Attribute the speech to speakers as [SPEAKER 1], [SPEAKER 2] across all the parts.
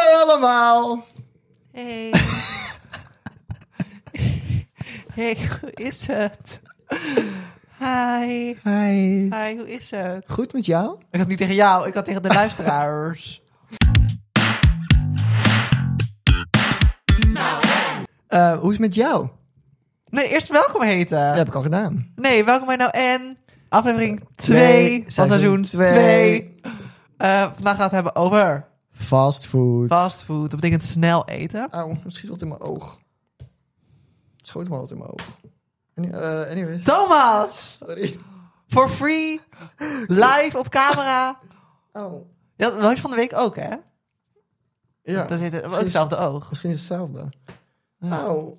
[SPEAKER 1] allemaal.
[SPEAKER 2] Hey. hey, hoe is het? Hi.
[SPEAKER 1] Hi.
[SPEAKER 2] Hi, hoe is het?
[SPEAKER 1] Goed met jou?
[SPEAKER 2] Ik had niet tegen jou, ik had tegen de luisteraars.
[SPEAKER 1] Eh, hoe is het met jou?
[SPEAKER 2] Nee, eerst welkom
[SPEAKER 1] Dat
[SPEAKER 2] heten.
[SPEAKER 1] heb ik al gedaan.
[SPEAKER 2] Nee, welkom bij nou en aflevering 2
[SPEAKER 1] Twee,
[SPEAKER 2] van seizoen
[SPEAKER 1] seizoen
[SPEAKER 2] 2.
[SPEAKER 1] twee.
[SPEAKER 2] Eh vandaag gaan we het hebben over
[SPEAKER 1] Fastfood.
[SPEAKER 2] fastfood. Dat betekent snel eten.
[SPEAKER 1] Auw, het schiet wat in mijn oog. Het schoot me wat in mijn oog. Any- eh, anyways.
[SPEAKER 2] Thomas,
[SPEAKER 1] Sorry.
[SPEAKER 2] for free, live op camera.
[SPEAKER 1] Auw.
[SPEAKER 2] Ja, dat had je van de week ook, hè?
[SPEAKER 1] Ja.
[SPEAKER 2] Dat heet ook
[SPEAKER 1] Precies.
[SPEAKER 2] hetzelfde oog.
[SPEAKER 1] Misschien is hetzelfde.
[SPEAKER 2] Ja.
[SPEAKER 1] Auw.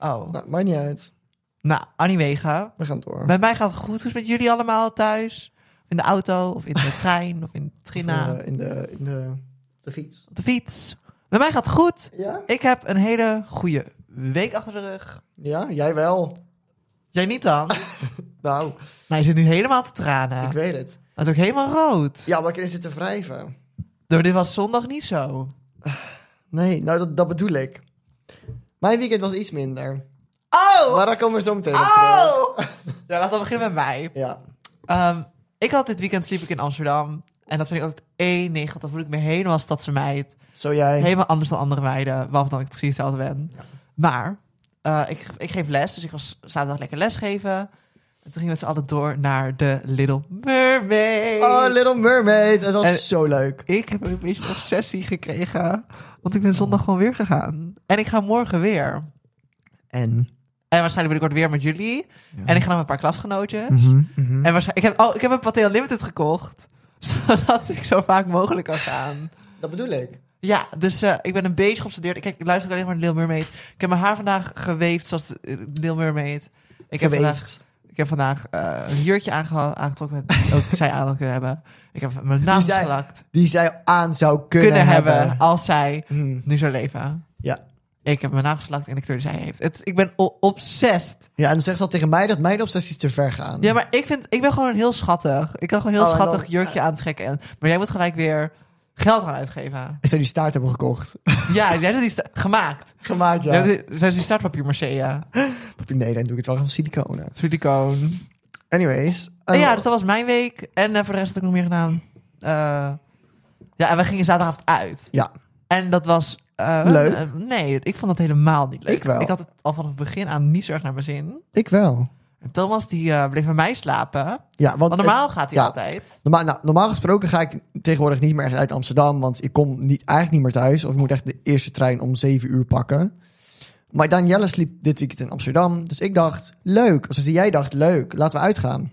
[SPEAKER 2] Oh.
[SPEAKER 1] Nou, maakt niet uit.
[SPEAKER 2] Nou, Annie Wega.
[SPEAKER 1] We gaan door.
[SPEAKER 2] Bij mij gaat het goed. Hoe is het met jullie allemaal thuis? In de auto, of in de trein, of in de trina,
[SPEAKER 1] Eh, in de, in de, de fiets.
[SPEAKER 2] op de fiets. Bij mij gaat het goed.
[SPEAKER 1] Ja?
[SPEAKER 2] Ik heb een hele goede week achter de rug.
[SPEAKER 1] Ja, jij wel.
[SPEAKER 2] Jij niet dan?
[SPEAKER 1] Nou,
[SPEAKER 2] nou, je zit nu helemaal te tranen.
[SPEAKER 1] ik weet het.
[SPEAKER 2] Het is ook helemaal rood.
[SPEAKER 1] Ja, maar ik zit te wrijven.
[SPEAKER 2] Nou, dit was zondag niet zo.
[SPEAKER 1] Nee, nou dat, dat bedoel ik. Mijn weekend was iets minder.
[SPEAKER 2] Oh!
[SPEAKER 1] Maar daar komen we zo meteen op terug.
[SPEAKER 2] Oh! Ja, laten we beginnen met mij.
[SPEAKER 1] Ja.
[SPEAKER 2] Ehm, ik had dit weekend sliep ik in Amsterdam. En dat vind ik altijd enig. want Dan voel ik me helemaal stadse meid.
[SPEAKER 1] Zo jij.
[SPEAKER 2] helemaal anders dan andere meiden, waarvan dan ik precies hetzelfde ben. Maar eh, ik, ik geef les, dus ik was zaterdag lekker lesgeven. En toen gingen we met z'n allen door naar de Little Mermaid.
[SPEAKER 1] Oh, Little Mermaid. Het was
[SPEAKER 2] En-
[SPEAKER 1] zo leuk.
[SPEAKER 2] Ik heb een beetje een obsessie gekregen, want ik ben zondag gewoon weer gegaan. En ik ga morgen weer.
[SPEAKER 1] En?
[SPEAKER 2] En waarschijnlijk binnenkort weer met jullie. En ik ga dan met een paar klasgenootjes.
[SPEAKER 1] mhm.
[SPEAKER 2] En waarschijnlijk, ik heb, oh, ik heb een Pathé Unlimited gekocht, zodat ik zo vaak mogelijk kan gaan.
[SPEAKER 1] Dat bedoel ik.
[SPEAKER 2] Ja, dus eh, ik ben een beetje geobsedeerd. Ik, kijk, ik luister alleen maar naar Little Mermaid. Ik heb mijn haar vandaag geweefd zoals eh, Little Mermaid. Ik heb vandaag, ik heb vandaag eh, een jurkje aangeha- aangetrokken met ook zij aan kunnen hebben. Ik heb mijn naam
[SPEAKER 1] zij
[SPEAKER 2] gelakt.
[SPEAKER 1] Die zij aan zou kunnen,
[SPEAKER 2] Kunnen, hebben,
[SPEAKER 1] hebben.
[SPEAKER 2] als zij
[SPEAKER 1] Mhm.
[SPEAKER 2] nu zou leven.
[SPEAKER 1] Ja.
[SPEAKER 2] Ik heb mijn naam geslakt in de kleur die zij heeft. Het, ik ben o- obsessed.
[SPEAKER 1] ja, en dan zegt ze al tegen mij dat mijn obsessies te ver gaan.
[SPEAKER 2] Ja, maar ik, vind, ik ben gewoon heel schattig. Ik kan gewoon een heel
[SPEAKER 1] Oh, en dan-
[SPEAKER 2] schattig jurkje aantrekken. En, maar jij moet gelijk weer geld gaan uitgeven.
[SPEAKER 1] Ik zou die staart hebben gekocht.
[SPEAKER 2] ja, jij hebt die sta- gemaakt.
[SPEAKER 1] Gemaakt, ja.
[SPEAKER 2] Ja. Zij is die startpapier marchea.
[SPEAKER 1] Nee, dan doe ik het wel van siliconen.
[SPEAKER 2] Silicoon.
[SPEAKER 1] Anyways.
[SPEAKER 2] En
[SPEAKER 1] eh,
[SPEAKER 2] ja, dus dat was mijn week. En eh, voor de rest had ik nog meer gedaan. Eh, ja, en we gingen zaterdagavond uit.
[SPEAKER 1] ja.
[SPEAKER 2] En dat was... eh,
[SPEAKER 1] Leuk.
[SPEAKER 2] eh, nee, ik vond dat helemaal niet leuk.
[SPEAKER 1] Ik wel.
[SPEAKER 2] Ik had het al vanaf het begin aan niet zo erg naar mijn zin.
[SPEAKER 1] ik wel.
[SPEAKER 2] En Thomas, die eh, bleef bij mij slapen. Want
[SPEAKER 1] Ja, want het-
[SPEAKER 2] normaal gaat hij
[SPEAKER 1] ja.
[SPEAKER 2] altijd.
[SPEAKER 1] Normaal, nou, normaal gesproken ga ik tegenwoordig niet meer echt uit Amsterdam, want ik kom niet, eigenlijk niet meer thuis. Of ik moet echt de eerste trein om 7 uur pakken. Maar Danielle sliep dit weekend in Amsterdam, dus ik dacht, leuk. Of zoals jij dacht, leuk, laten we uitgaan.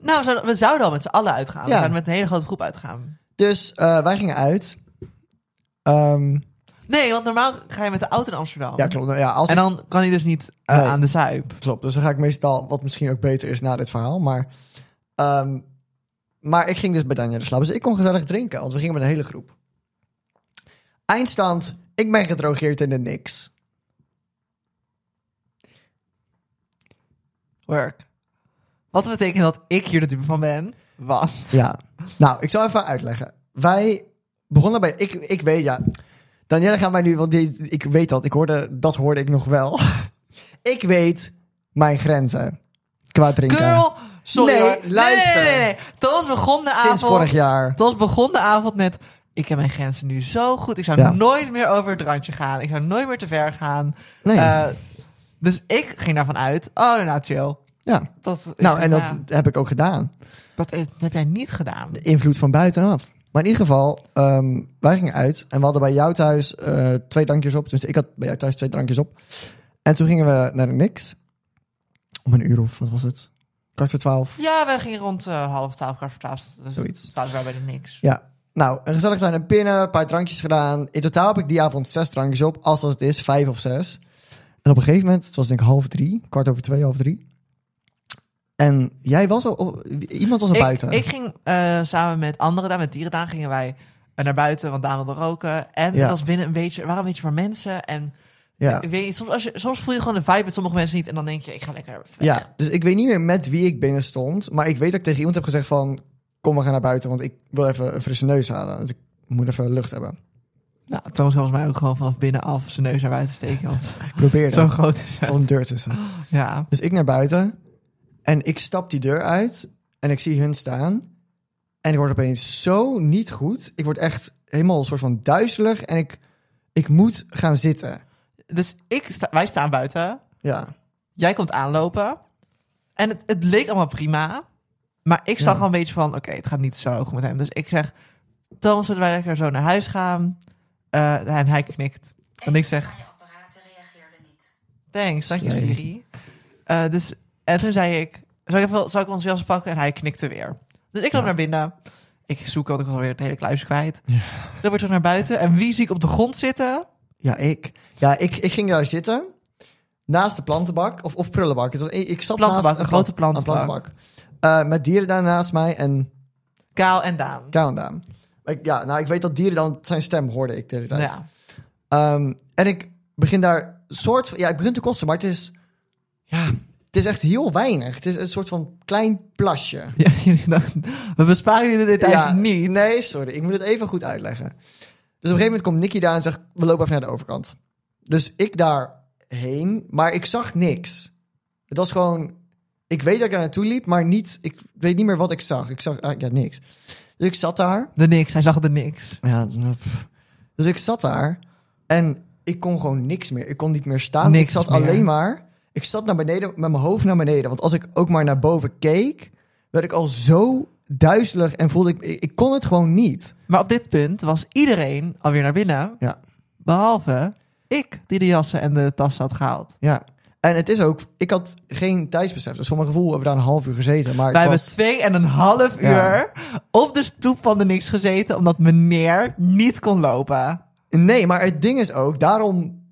[SPEAKER 2] Nou, we zouden, we zouden al met z'n allen uitgaan. We
[SPEAKER 1] Ja.
[SPEAKER 2] zouden met een hele grote groep uitgaan.
[SPEAKER 1] Dus eh, wij gingen uit. Ehm,
[SPEAKER 2] Nee, want normaal ga je met de auto in Amsterdam.
[SPEAKER 1] ja, klopt. Nou ja, als
[SPEAKER 2] En dan kan hij dus niet eh,
[SPEAKER 1] Nee.
[SPEAKER 2] aan de zuip.
[SPEAKER 1] Klopt, dus dan ga ik meestal, wat misschien ook beter is na dit verhaal, maar... ehm, maar ik ging dus bij Danielle slapen, dus ik kon gezellig drinken, want we gingen met een hele groep. Eindstand, ik ben gedrogeerd in de niks.
[SPEAKER 2] Work. Wat betekent dat ik hier de type van ben? Want...
[SPEAKER 1] Ja. Nou, ik zal even uitleggen. Wij begonnen bij. Ik, ik weet, ja. Danielle gaan wij nu, want die, ik weet dat. Ik hoorde, dat hoorde ik nog wel. ik weet mijn grenzen. Qua drinken.
[SPEAKER 2] Girl, sorry
[SPEAKER 1] Nee,
[SPEAKER 2] hoor. Nee,
[SPEAKER 1] luister.
[SPEAKER 2] Nee, nee, nee. Thomas begon de avond...
[SPEAKER 1] Sinds vorig jaar.
[SPEAKER 2] Thomas begon de avond met... Ik heb mijn grenzen nu zo goed. Ik zou
[SPEAKER 1] Ja.
[SPEAKER 2] nooit meer over het randje gaan. Ik zou nooit meer te ver gaan.
[SPEAKER 1] Nee.
[SPEAKER 2] Eh, dus ik ging daarvan uit. Oh, nou, chill.
[SPEAKER 1] Ja.
[SPEAKER 2] Dat is-
[SPEAKER 1] Nou, en dat
[SPEAKER 2] ja,
[SPEAKER 1] heb ik ook gedaan.
[SPEAKER 2] dat is- dat heb jij niet gedaan.
[SPEAKER 1] De invloed van buitenaf. Maar in ieder geval, ehm, wij gingen uit en we hadden bij jou thuis eh, twee drankjes op. Dus ik had bij jou thuis twee drankjes op. En toen gingen we naar de Nix. Om een uur of wat was het? Kwart voor twaalf.
[SPEAKER 2] Ja, wij gingen rond eh, half twaalf, kwart voor twaalf. Dus
[SPEAKER 1] Zoiets.
[SPEAKER 2] twaalf waren bijna niks.
[SPEAKER 1] Ja. Nou, een gezellig tijd naar binnen, een paar drankjes gedaan. In totaal heb ik die avond zes drankjes op, als dat het is, vijf of zes. En op een gegeven moment, het was denk ik half drie, kwart over twee, half drie. En jij was al, oh, iemand was al
[SPEAKER 2] ik,
[SPEAKER 1] buiten.
[SPEAKER 2] Ik ging eh, samen met anderen daar, met dierendaan, gingen wij eh, naar buiten, want daar wilde roken. En
[SPEAKER 1] Ja.
[SPEAKER 2] het was binnen een beetje, er waren een beetje maar mensen. En
[SPEAKER 1] ja.
[SPEAKER 2] ik weet niet, soms, als je, soms voel je gewoon de vibe met sommige mensen niet. En dan denk je, ik ga lekker weg.
[SPEAKER 1] ja, dus ik weet niet meer met wie ik binnen stond. Maar ik weet dat ik tegen iemand heb gezegd van, kom we gaan naar buiten, want ik wil even een frisse neus halen. Want ik moet even lucht hebben.
[SPEAKER 2] Nou, Toon zal volgens mij ook gewoon vanaf binnenaf zijn neus naar buiten steken. Want
[SPEAKER 1] Ik probeer
[SPEAKER 2] zo
[SPEAKER 1] het.
[SPEAKER 2] groot is
[SPEAKER 1] Er
[SPEAKER 2] het.
[SPEAKER 1] zat een deur tussen.
[SPEAKER 2] Ja.
[SPEAKER 1] Dus ik naar buiten. En ik stap die deur uit. En ik zie hun staan. En ik word opeens zo niet goed. Ik word echt helemaal een soort van duizelig. En ik, ik moet gaan zitten.
[SPEAKER 2] Dus ik sta, wij staan buiten.
[SPEAKER 1] Ja.
[SPEAKER 2] Jij komt aanlopen. En het, het leek allemaal prima. Maar ik zag
[SPEAKER 1] Ja.
[SPEAKER 2] al een beetje van... Oké, het gaat niet zo goed met hem. Dus ik zeg... Toon, zullen wij lekker zo naar huis gaan? Eh, en hij knikt. En ik zeg...
[SPEAKER 3] Aan je apparaten reageerde niet.
[SPEAKER 2] Thanks, dank je
[SPEAKER 1] Slay.
[SPEAKER 2] Siri. Eh, dus, en toen zei ik, zal ik, even, zal ik ons jas pakken? En hij knikte weer. Dus ik loop naar binnen. Ik zoek, want ik was alweer het hele kluis kwijt. Dan word ik terug naar buiten. En wie zie ik op de grond zitten?
[SPEAKER 1] Ja, ik. Ja, ik, ik ging daar zitten. Naast de plantenbak. Of, of prullenbak. Het was, e- ik, ik zat
[SPEAKER 2] Plantenbak,
[SPEAKER 1] naast
[SPEAKER 2] een grote
[SPEAKER 1] plant-
[SPEAKER 2] plantenbak.
[SPEAKER 1] Eh, met dieren daar naast mij en
[SPEAKER 2] Kaal en Daan.
[SPEAKER 1] Countdown. Ik, ja, nou, ik weet dat dieren dan zijn stem hoorde ik de hele tijd.
[SPEAKER 2] Ja.
[SPEAKER 1] Ehm, en ik begin daar soort van... Ja, het begint te kosten, maar het is... Ja, het is echt heel weinig. Het is een soort van klein plasje.
[SPEAKER 2] ja jullie dachten, we besparen jullie de details
[SPEAKER 1] Ja,
[SPEAKER 2] niet.
[SPEAKER 1] Nee, sorry. Ik moet het even goed uitleggen. Dus op een gegeven moment komt Nicky daar en zegt... We lopen even naar de overkant. Dus ik daarheen, maar ik zag niks. Het was gewoon... Ik weet dat ik daar naartoe liep, maar niet... Ik weet niet meer wat ik zag. Ik zag eigenlijk ja, niks. Dus ik zat daar.
[SPEAKER 2] De niks, hij zag de niks.
[SPEAKER 1] Ja, pff. dus ik zat daar en ik kon gewoon niks meer. Ik kon niet meer staan. ik
[SPEAKER 2] Niks
[SPEAKER 1] zat
[SPEAKER 2] meer.
[SPEAKER 1] alleen maar. Ik zat naar beneden met mijn hoofd naar beneden. Want als ik ook maar naar boven keek, werd ik al zo duizelig en voelde ik, ik, ik kon het gewoon niet.
[SPEAKER 2] Maar op dit punt was iedereen alweer naar binnen.
[SPEAKER 1] Ja.
[SPEAKER 2] Behalve ik, die de jassen en de tas had gehaald.
[SPEAKER 1] Ja. En het is ook, ik had geen tijdsbesef. Dus voor mijn gevoel hebben we daar een half uur gezeten. Maar
[SPEAKER 2] Wij
[SPEAKER 1] het
[SPEAKER 2] hebben
[SPEAKER 1] was,
[SPEAKER 2] twee en een half uur
[SPEAKER 1] Ja.
[SPEAKER 2] op de stoep van de niks gezeten, omdat meneer niet kon lopen.
[SPEAKER 1] Nee, maar het ding is ook, daarom.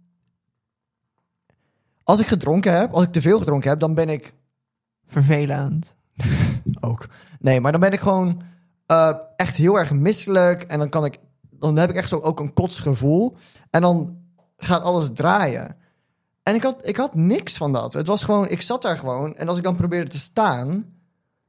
[SPEAKER 1] Als ik gedronken heb, als ik te veel gedronken heb, dan ben ik
[SPEAKER 2] Vervelend.
[SPEAKER 1] ook. Nee, maar dan ben ik gewoon eh, echt heel erg misselijk. En dan kan ik. Dan heb ik echt zo ook een kotsgevoel. En dan gaat alles draaien. En ik had, ik had niks van dat. Het was gewoon, ik zat daar gewoon. En als ik dan probeerde te staan,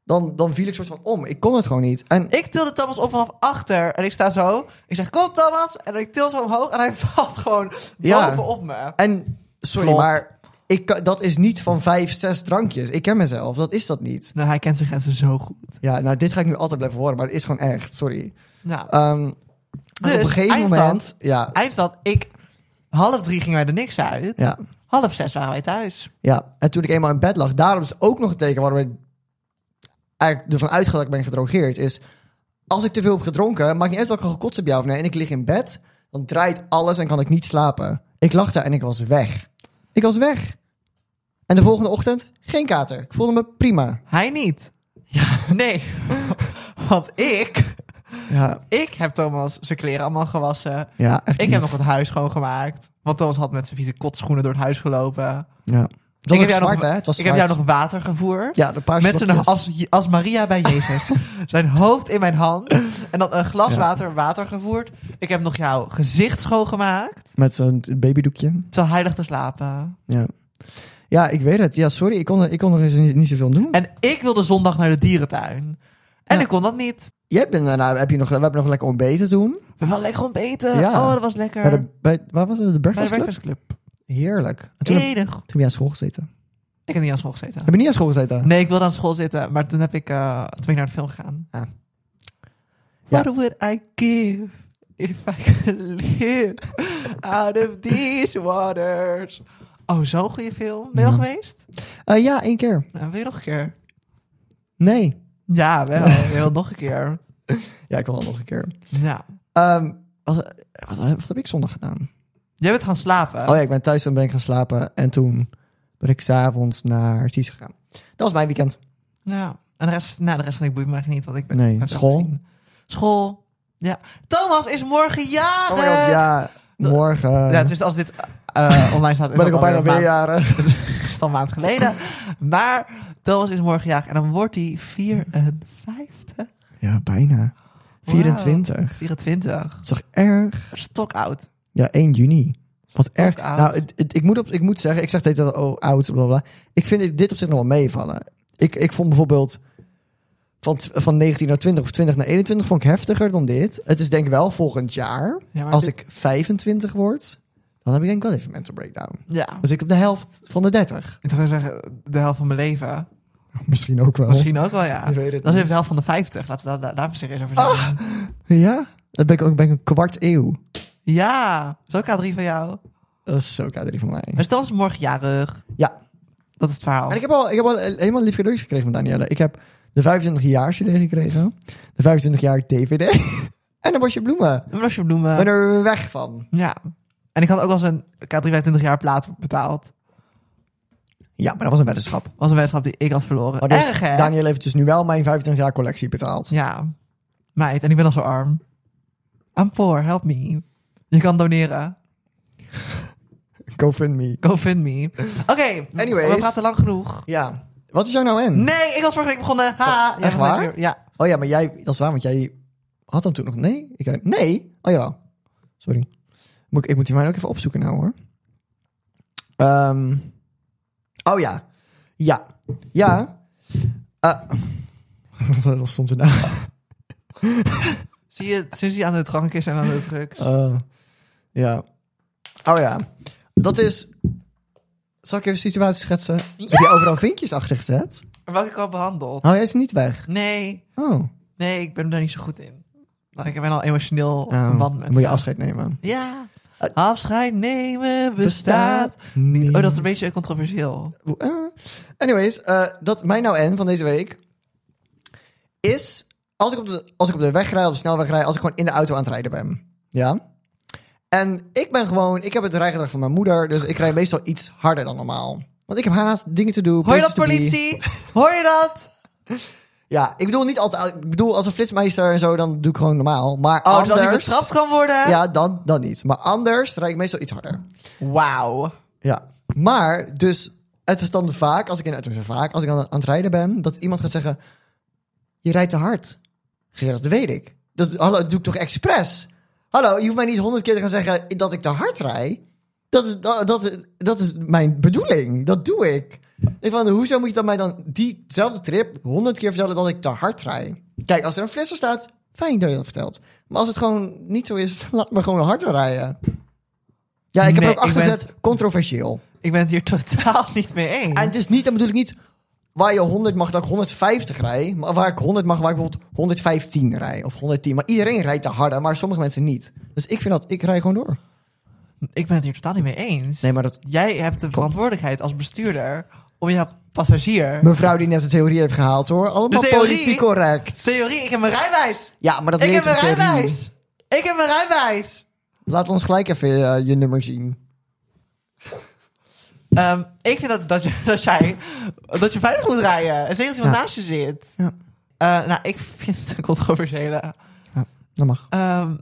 [SPEAKER 1] dan, dan viel ik soort van om. Ik kon het gewoon niet. En
[SPEAKER 2] Ik tilde Thomas op vanaf achter en ik sta zo. Ik zeg, kom Thomas. En ik til zo omhoog en hij valt gewoon
[SPEAKER 1] Ja.
[SPEAKER 2] bovenop me.
[SPEAKER 1] En sorry,
[SPEAKER 2] Flop.
[SPEAKER 1] maar ik, kan- dat is niet van vijf, zes drankjes. Ik ken mezelf, dat is dat niet.
[SPEAKER 2] Nou, hij kent zijn grenzen zo goed.
[SPEAKER 1] Ja, nou, dit ga ik nu altijd blijven horen, maar het is gewoon echt, sorry.
[SPEAKER 2] Nou,
[SPEAKER 1] Ehm,
[SPEAKER 2] dus
[SPEAKER 1] op een gegeven
[SPEAKER 2] eindstand,
[SPEAKER 1] moment, ja,
[SPEAKER 2] eindstand, ik... Half drie gingen wij er niks uit.
[SPEAKER 1] ja,
[SPEAKER 2] Half zes waren wij thuis.
[SPEAKER 1] ja. En toen ik eenmaal in bed lag, daarom is ook nog een teken waarom ik eigenlijk ervan uitga dat ik ben gedrogeerd, is als ik te veel heb gedronken, maakt niet uit wat ik al gekotst heb, ja of nee, en ik lig in bed, dan draait alles en kan ik niet slapen. Ik lag daar en ik was weg. Ik was weg. En de volgende ochtend, geen kater. Ik voelde me prima.
[SPEAKER 2] Hij niet. Ja. Nee. Want ik...
[SPEAKER 1] Ja,
[SPEAKER 2] Ik heb Thomas zijn kleren allemaal gewassen.
[SPEAKER 1] Ja, echt
[SPEAKER 2] Ik heb
[SPEAKER 1] lief.
[SPEAKER 2] nog het huis schoongemaakt. Want Thomas had met zijn vieze kotschoenen door het huis gelopen.
[SPEAKER 1] Ja. Het was
[SPEAKER 2] ik
[SPEAKER 1] ook
[SPEAKER 2] heb jou
[SPEAKER 1] zwart,
[SPEAKER 2] nog,
[SPEAKER 1] hè? Het was
[SPEAKER 2] ik heb
[SPEAKER 1] zwart.
[SPEAKER 2] jou nog water gevoerd.
[SPEAKER 1] Ja, de paarse
[SPEAKER 2] Met zijn,
[SPEAKER 1] blokjes.
[SPEAKER 2] als, als Maria bij Jezus. zijn hoofd in mijn hand. En dan een glas
[SPEAKER 1] Ja.
[SPEAKER 2] water, water gevoerd. Ik heb nog jouw gezicht schoongemaakt.
[SPEAKER 1] Met zo'n babydoekje.
[SPEAKER 2] Terwijl hij lag te slapen.
[SPEAKER 1] Ja. Ja, ik weet het. Ja, sorry. Ik kon, er- ik kon er eens niet, niet zoveel aan doen.
[SPEAKER 2] En ik wilde zondag naar de dierentuin. En
[SPEAKER 1] Ja.
[SPEAKER 2] ik kon dat niet.
[SPEAKER 1] Jij bent daarna... Heb je nog, we hebben nog lekker ontbeten toen.
[SPEAKER 2] We waren lekker ontbeten.
[SPEAKER 1] Ja.
[SPEAKER 2] Oh, dat was lekker.
[SPEAKER 1] Bij de, bij, waar was het? De
[SPEAKER 2] Bij de
[SPEAKER 1] Breakfast Club?
[SPEAKER 2] Breakfast Club.
[SPEAKER 1] Heerlijk. En toen, heb, toen
[SPEAKER 2] Enig.
[SPEAKER 1] heb je aan school gezeten.
[SPEAKER 2] Ik heb niet aan school gezeten.
[SPEAKER 1] Heb je niet aan school gezeten?
[SPEAKER 2] Nee, ik wilde aan school zitten, maar toen, heb ik, eh, toen ben ik naar de film gegaan.
[SPEAKER 1] Ah. Ja.
[SPEAKER 2] What would I give if I could live out of these waters? Oh, zo'n goede film. Ben je al
[SPEAKER 1] Ja.
[SPEAKER 2] geweest?
[SPEAKER 1] Eh, ja, één keer.
[SPEAKER 2] Nou, wil je nog een keer?
[SPEAKER 1] Nee.
[SPEAKER 2] Ja, wel. Ik wil nog een keer.
[SPEAKER 1] Ja, ik wil wel nog een keer.
[SPEAKER 2] Ja.
[SPEAKER 1] Ehm, wat, wat, wat heb ik zondag gedaan?
[SPEAKER 2] Jij bent gaan slapen.
[SPEAKER 1] Oh ja, ik ben thuis en ben ik gaan slapen. En toen ben ik s'avonds naar Ties gegaan. Dat was mijn weekend.
[SPEAKER 2] Ja. En de rest, nou, de rest van ik boeit me eigenlijk niet, want ik ben...
[SPEAKER 1] Nee,
[SPEAKER 2] ik heb het
[SPEAKER 1] school?
[SPEAKER 2] gezien. School. Ja. Thomas is morgen jarig!
[SPEAKER 1] Oh my god, ja. Morgen.
[SPEAKER 2] Ja, het is als dit eh, online staat... is
[SPEAKER 1] ben
[SPEAKER 2] dat
[SPEAKER 1] ik al
[SPEAKER 2] alweer
[SPEAKER 1] bijna
[SPEAKER 2] een
[SPEAKER 1] weer
[SPEAKER 2] maand-
[SPEAKER 1] jaren.
[SPEAKER 2] Dat is al een maand geleden. Maar Thomas is morgen jarig en dan wordt hij 54.
[SPEAKER 1] Ja, bijna. 24.
[SPEAKER 2] Wauw, 24.
[SPEAKER 1] Dat is toch erg?
[SPEAKER 2] Stokoud.
[SPEAKER 1] Ja, 1 juni. Wat erg.
[SPEAKER 2] oud.
[SPEAKER 1] Nou, het- het- ik, moet op, ik moet zeggen, ik zeg dit al oh, oud, bla bla. Ik vind dit op zich nog wel meevallen. Ik, ik vond bijvoorbeeld van, t- van 19 naar 20 of 20 naar 21 vond ik heftiger dan dit. Het is denk ik wel volgend jaar.
[SPEAKER 2] Ja, maar
[SPEAKER 1] Als
[SPEAKER 2] dit-
[SPEAKER 1] ik 25 word, dan heb ik denk ik wel even mental breakdown.
[SPEAKER 2] Ja.
[SPEAKER 1] Dus ik op de helft van de 30.
[SPEAKER 2] Ik zou zeggen, de helft van mijn leven.
[SPEAKER 1] Misschien ook wel.
[SPEAKER 2] Misschien ook wel, ja.
[SPEAKER 1] Je weet het
[SPEAKER 2] Dat is
[SPEAKER 1] niet.
[SPEAKER 2] de helft van de 50. Laten we daar- daar, daar maar serieus over zijn.
[SPEAKER 1] Ja? Dat ben ik ook ben ik een kwart eeuw.
[SPEAKER 2] Ja, dat is ook K3 van jou.
[SPEAKER 1] Dat is zo K3 van mij.
[SPEAKER 2] Maar stel is morgen jarig.
[SPEAKER 1] Ja,
[SPEAKER 2] Dat is het verhaal.
[SPEAKER 1] En ik heb al, ik heb al helemaal lief cadeautjes gekregen van Danielle. Ik heb de 25 jaar CD gekregen. De 25 jaar DVD. en een bosje bloemen.
[SPEAKER 2] Een blasje bloemen.
[SPEAKER 1] Ik ben er weg van.
[SPEAKER 2] Ja. En ik had ook wel eens een K3 jaar plaat betaald.
[SPEAKER 1] Ja, maar dat was een weddenschap.
[SPEAKER 2] was een wedstrijd die ik had verloren.
[SPEAKER 1] Maar dus,
[SPEAKER 2] Erg, hè?
[SPEAKER 1] Danielle heeft dus nu wel mijn 25 jaar collectie betaald.
[SPEAKER 2] Ja. Meid, en ik ben al zo arm. I'm poor, help me. Je kan doneren.
[SPEAKER 1] Go fund me.
[SPEAKER 2] Go fund me. Oké,
[SPEAKER 1] Anyways.
[SPEAKER 2] we praten lang genoeg.
[SPEAKER 1] Ja. Wat is jou nou in?
[SPEAKER 2] Nee, ik was vorige week begonnen. Ha,
[SPEAKER 1] echt
[SPEAKER 2] ja,
[SPEAKER 1] waar?
[SPEAKER 2] weer- Ja.
[SPEAKER 1] Oh ja, maar jij, dat is waar, want jij had hem toen nog. Nee? Ik, nee? Oh ja. Sorry. Moet ik, ik moet die mij ook even opzoeken nou hoor. Ehm, oh ja. Ja. Ja. Eh, Wat stond er nou?
[SPEAKER 2] Zie je, sinds hij aan de drank is en aan de drugs.
[SPEAKER 1] Eh, ja. Oh ja. Dat is. Zal ik even een situatie schetsen? Heb je overal vinkjes achter gezet? Oh,
[SPEAKER 2] En welke ik al behandeld?
[SPEAKER 1] Hou jij ze niet weg?
[SPEAKER 2] Nee,
[SPEAKER 1] Oh.
[SPEAKER 2] nee, ik ben daar niet zo goed in. Want Ik ben al emotioneel
[SPEAKER 1] Oh,
[SPEAKER 2] een band
[SPEAKER 1] dan
[SPEAKER 2] met
[SPEAKER 1] moet je
[SPEAKER 2] ze.
[SPEAKER 1] afscheid nemen.
[SPEAKER 2] Ja. Afscheid nemen bestaat.
[SPEAKER 1] niet.
[SPEAKER 2] Oh, dat is een beetje controversieel.
[SPEAKER 1] Eh, anyways, eh, dat mijn nou en van deze week is als ik, op de, als ik op de weg rijd, op de snelweg rijd, als ik gewoon in de auto aan het rijden ben. Ja? En ik ben gewoon, ik heb het rijgedrag van mijn moeder, dus ik rijd meestal iets harder dan normaal. Want ik heb haast, dingen te doen.
[SPEAKER 2] Hoor je
[SPEAKER 1] places
[SPEAKER 2] dat,
[SPEAKER 1] to be.
[SPEAKER 2] politie? Hoor je dat?
[SPEAKER 1] Ja, ik bedoel niet altijd, ik bedoel als een flitsmeester en zo, dan doe ik gewoon normaal. Maar
[SPEAKER 2] Oh,
[SPEAKER 1] anders,
[SPEAKER 2] dat hij betrapt kan worden?
[SPEAKER 1] Ja, dan, dan niet. Maar anders rijd ik meestal iets harder.
[SPEAKER 2] Wauw.
[SPEAKER 1] Ja. Maar, dus, het is dan vaak, als ik in tenminste vaak, als ik aan, aan het rijden ben, dat iemand gaat zeggen: Je rijdt te hard. Ik zeg, ja, dat weet ik. Dat, hallo, dat doe ik toch expres? Hallo, je hoeft mij niet honderd keer te gaan zeggen dat ik te hard rijd. Dat is, dat, dat, is- dat is mijn bedoeling. Dat doe ik. Ik van, hoezo moet je dan mij dan diezelfde trip honderd keer vertellen dat ik te hard rijd? Kijk, als er een flitser staat, fijn dat je dat vertelt. Maar als het gewoon niet zo is, laat me gewoon harder rijden. Ja, ik heb
[SPEAKER 2] Nee,
[SPEAKER 1] er ook
[SPEAKER 2] ik
[SPEAKER 1] achter
[SPEAKER 2] ben-
[SPEAKER 1] gezet, controversieel.
[SPEAKER 2] Ik ben het hier totaal niet mee eens.
[SPEAKER 1] En het is niet, dan bedoel ik niet waar je 100 mag, dat ik 150 rij. Maar waar ik 100 mag, waar ik bijvoorbeeld 115 rij. Of 110. Maar iedereen rijdt te harder, maar sommige mensen niet. Dus ik vind dat, ik rij gewoon door.
[SPEAKER 2] Ik ben het hier totaal niet mee eens.
[SPEAKER 1] Nee, maar dat...
[SPEAKER 2] Jij hebt de verantwoordelijkheid als bestuurder om je passagier.
[SPEAKER 1] Mevrouw die net de theorie heeft gehaald hoor. Allemaal
[SPEAKER 2] De theorie?
[SPEAKER 1] politiek correct.
[SPEAKER 2] Theorie, ik heb mijn rijwijs.
[SPEAKER 1] Ja, maar dat
[SPEAKER 2] Ik
[SPEAKER 1] leert
[SPEAKER 2] heb
[SPEAKER 1] de
[SPEAKER 2] mijn
[SPEAKER 1] theorie.
[SPEAKER 2] rijwijs. Ik heb mijn rijwijs.
[SPEAKER 1] Laat ons gelijk even eh, je nummer zien.
[SPEAKER 2] Ehm, ik vind dat, dat, je, dat, jij, dat je veilig moet rijden. En zeker als iemand
[SPEAKER 1] Ja.
[SPEAKER 2] naast je zit.
[SPEAKER 1] Ja.
[SPEAKER 2] Eh, nou, ik vind het een controversiële.
[SPEAKER 1] Dat mag.
[SPEAKER 2] Ehm,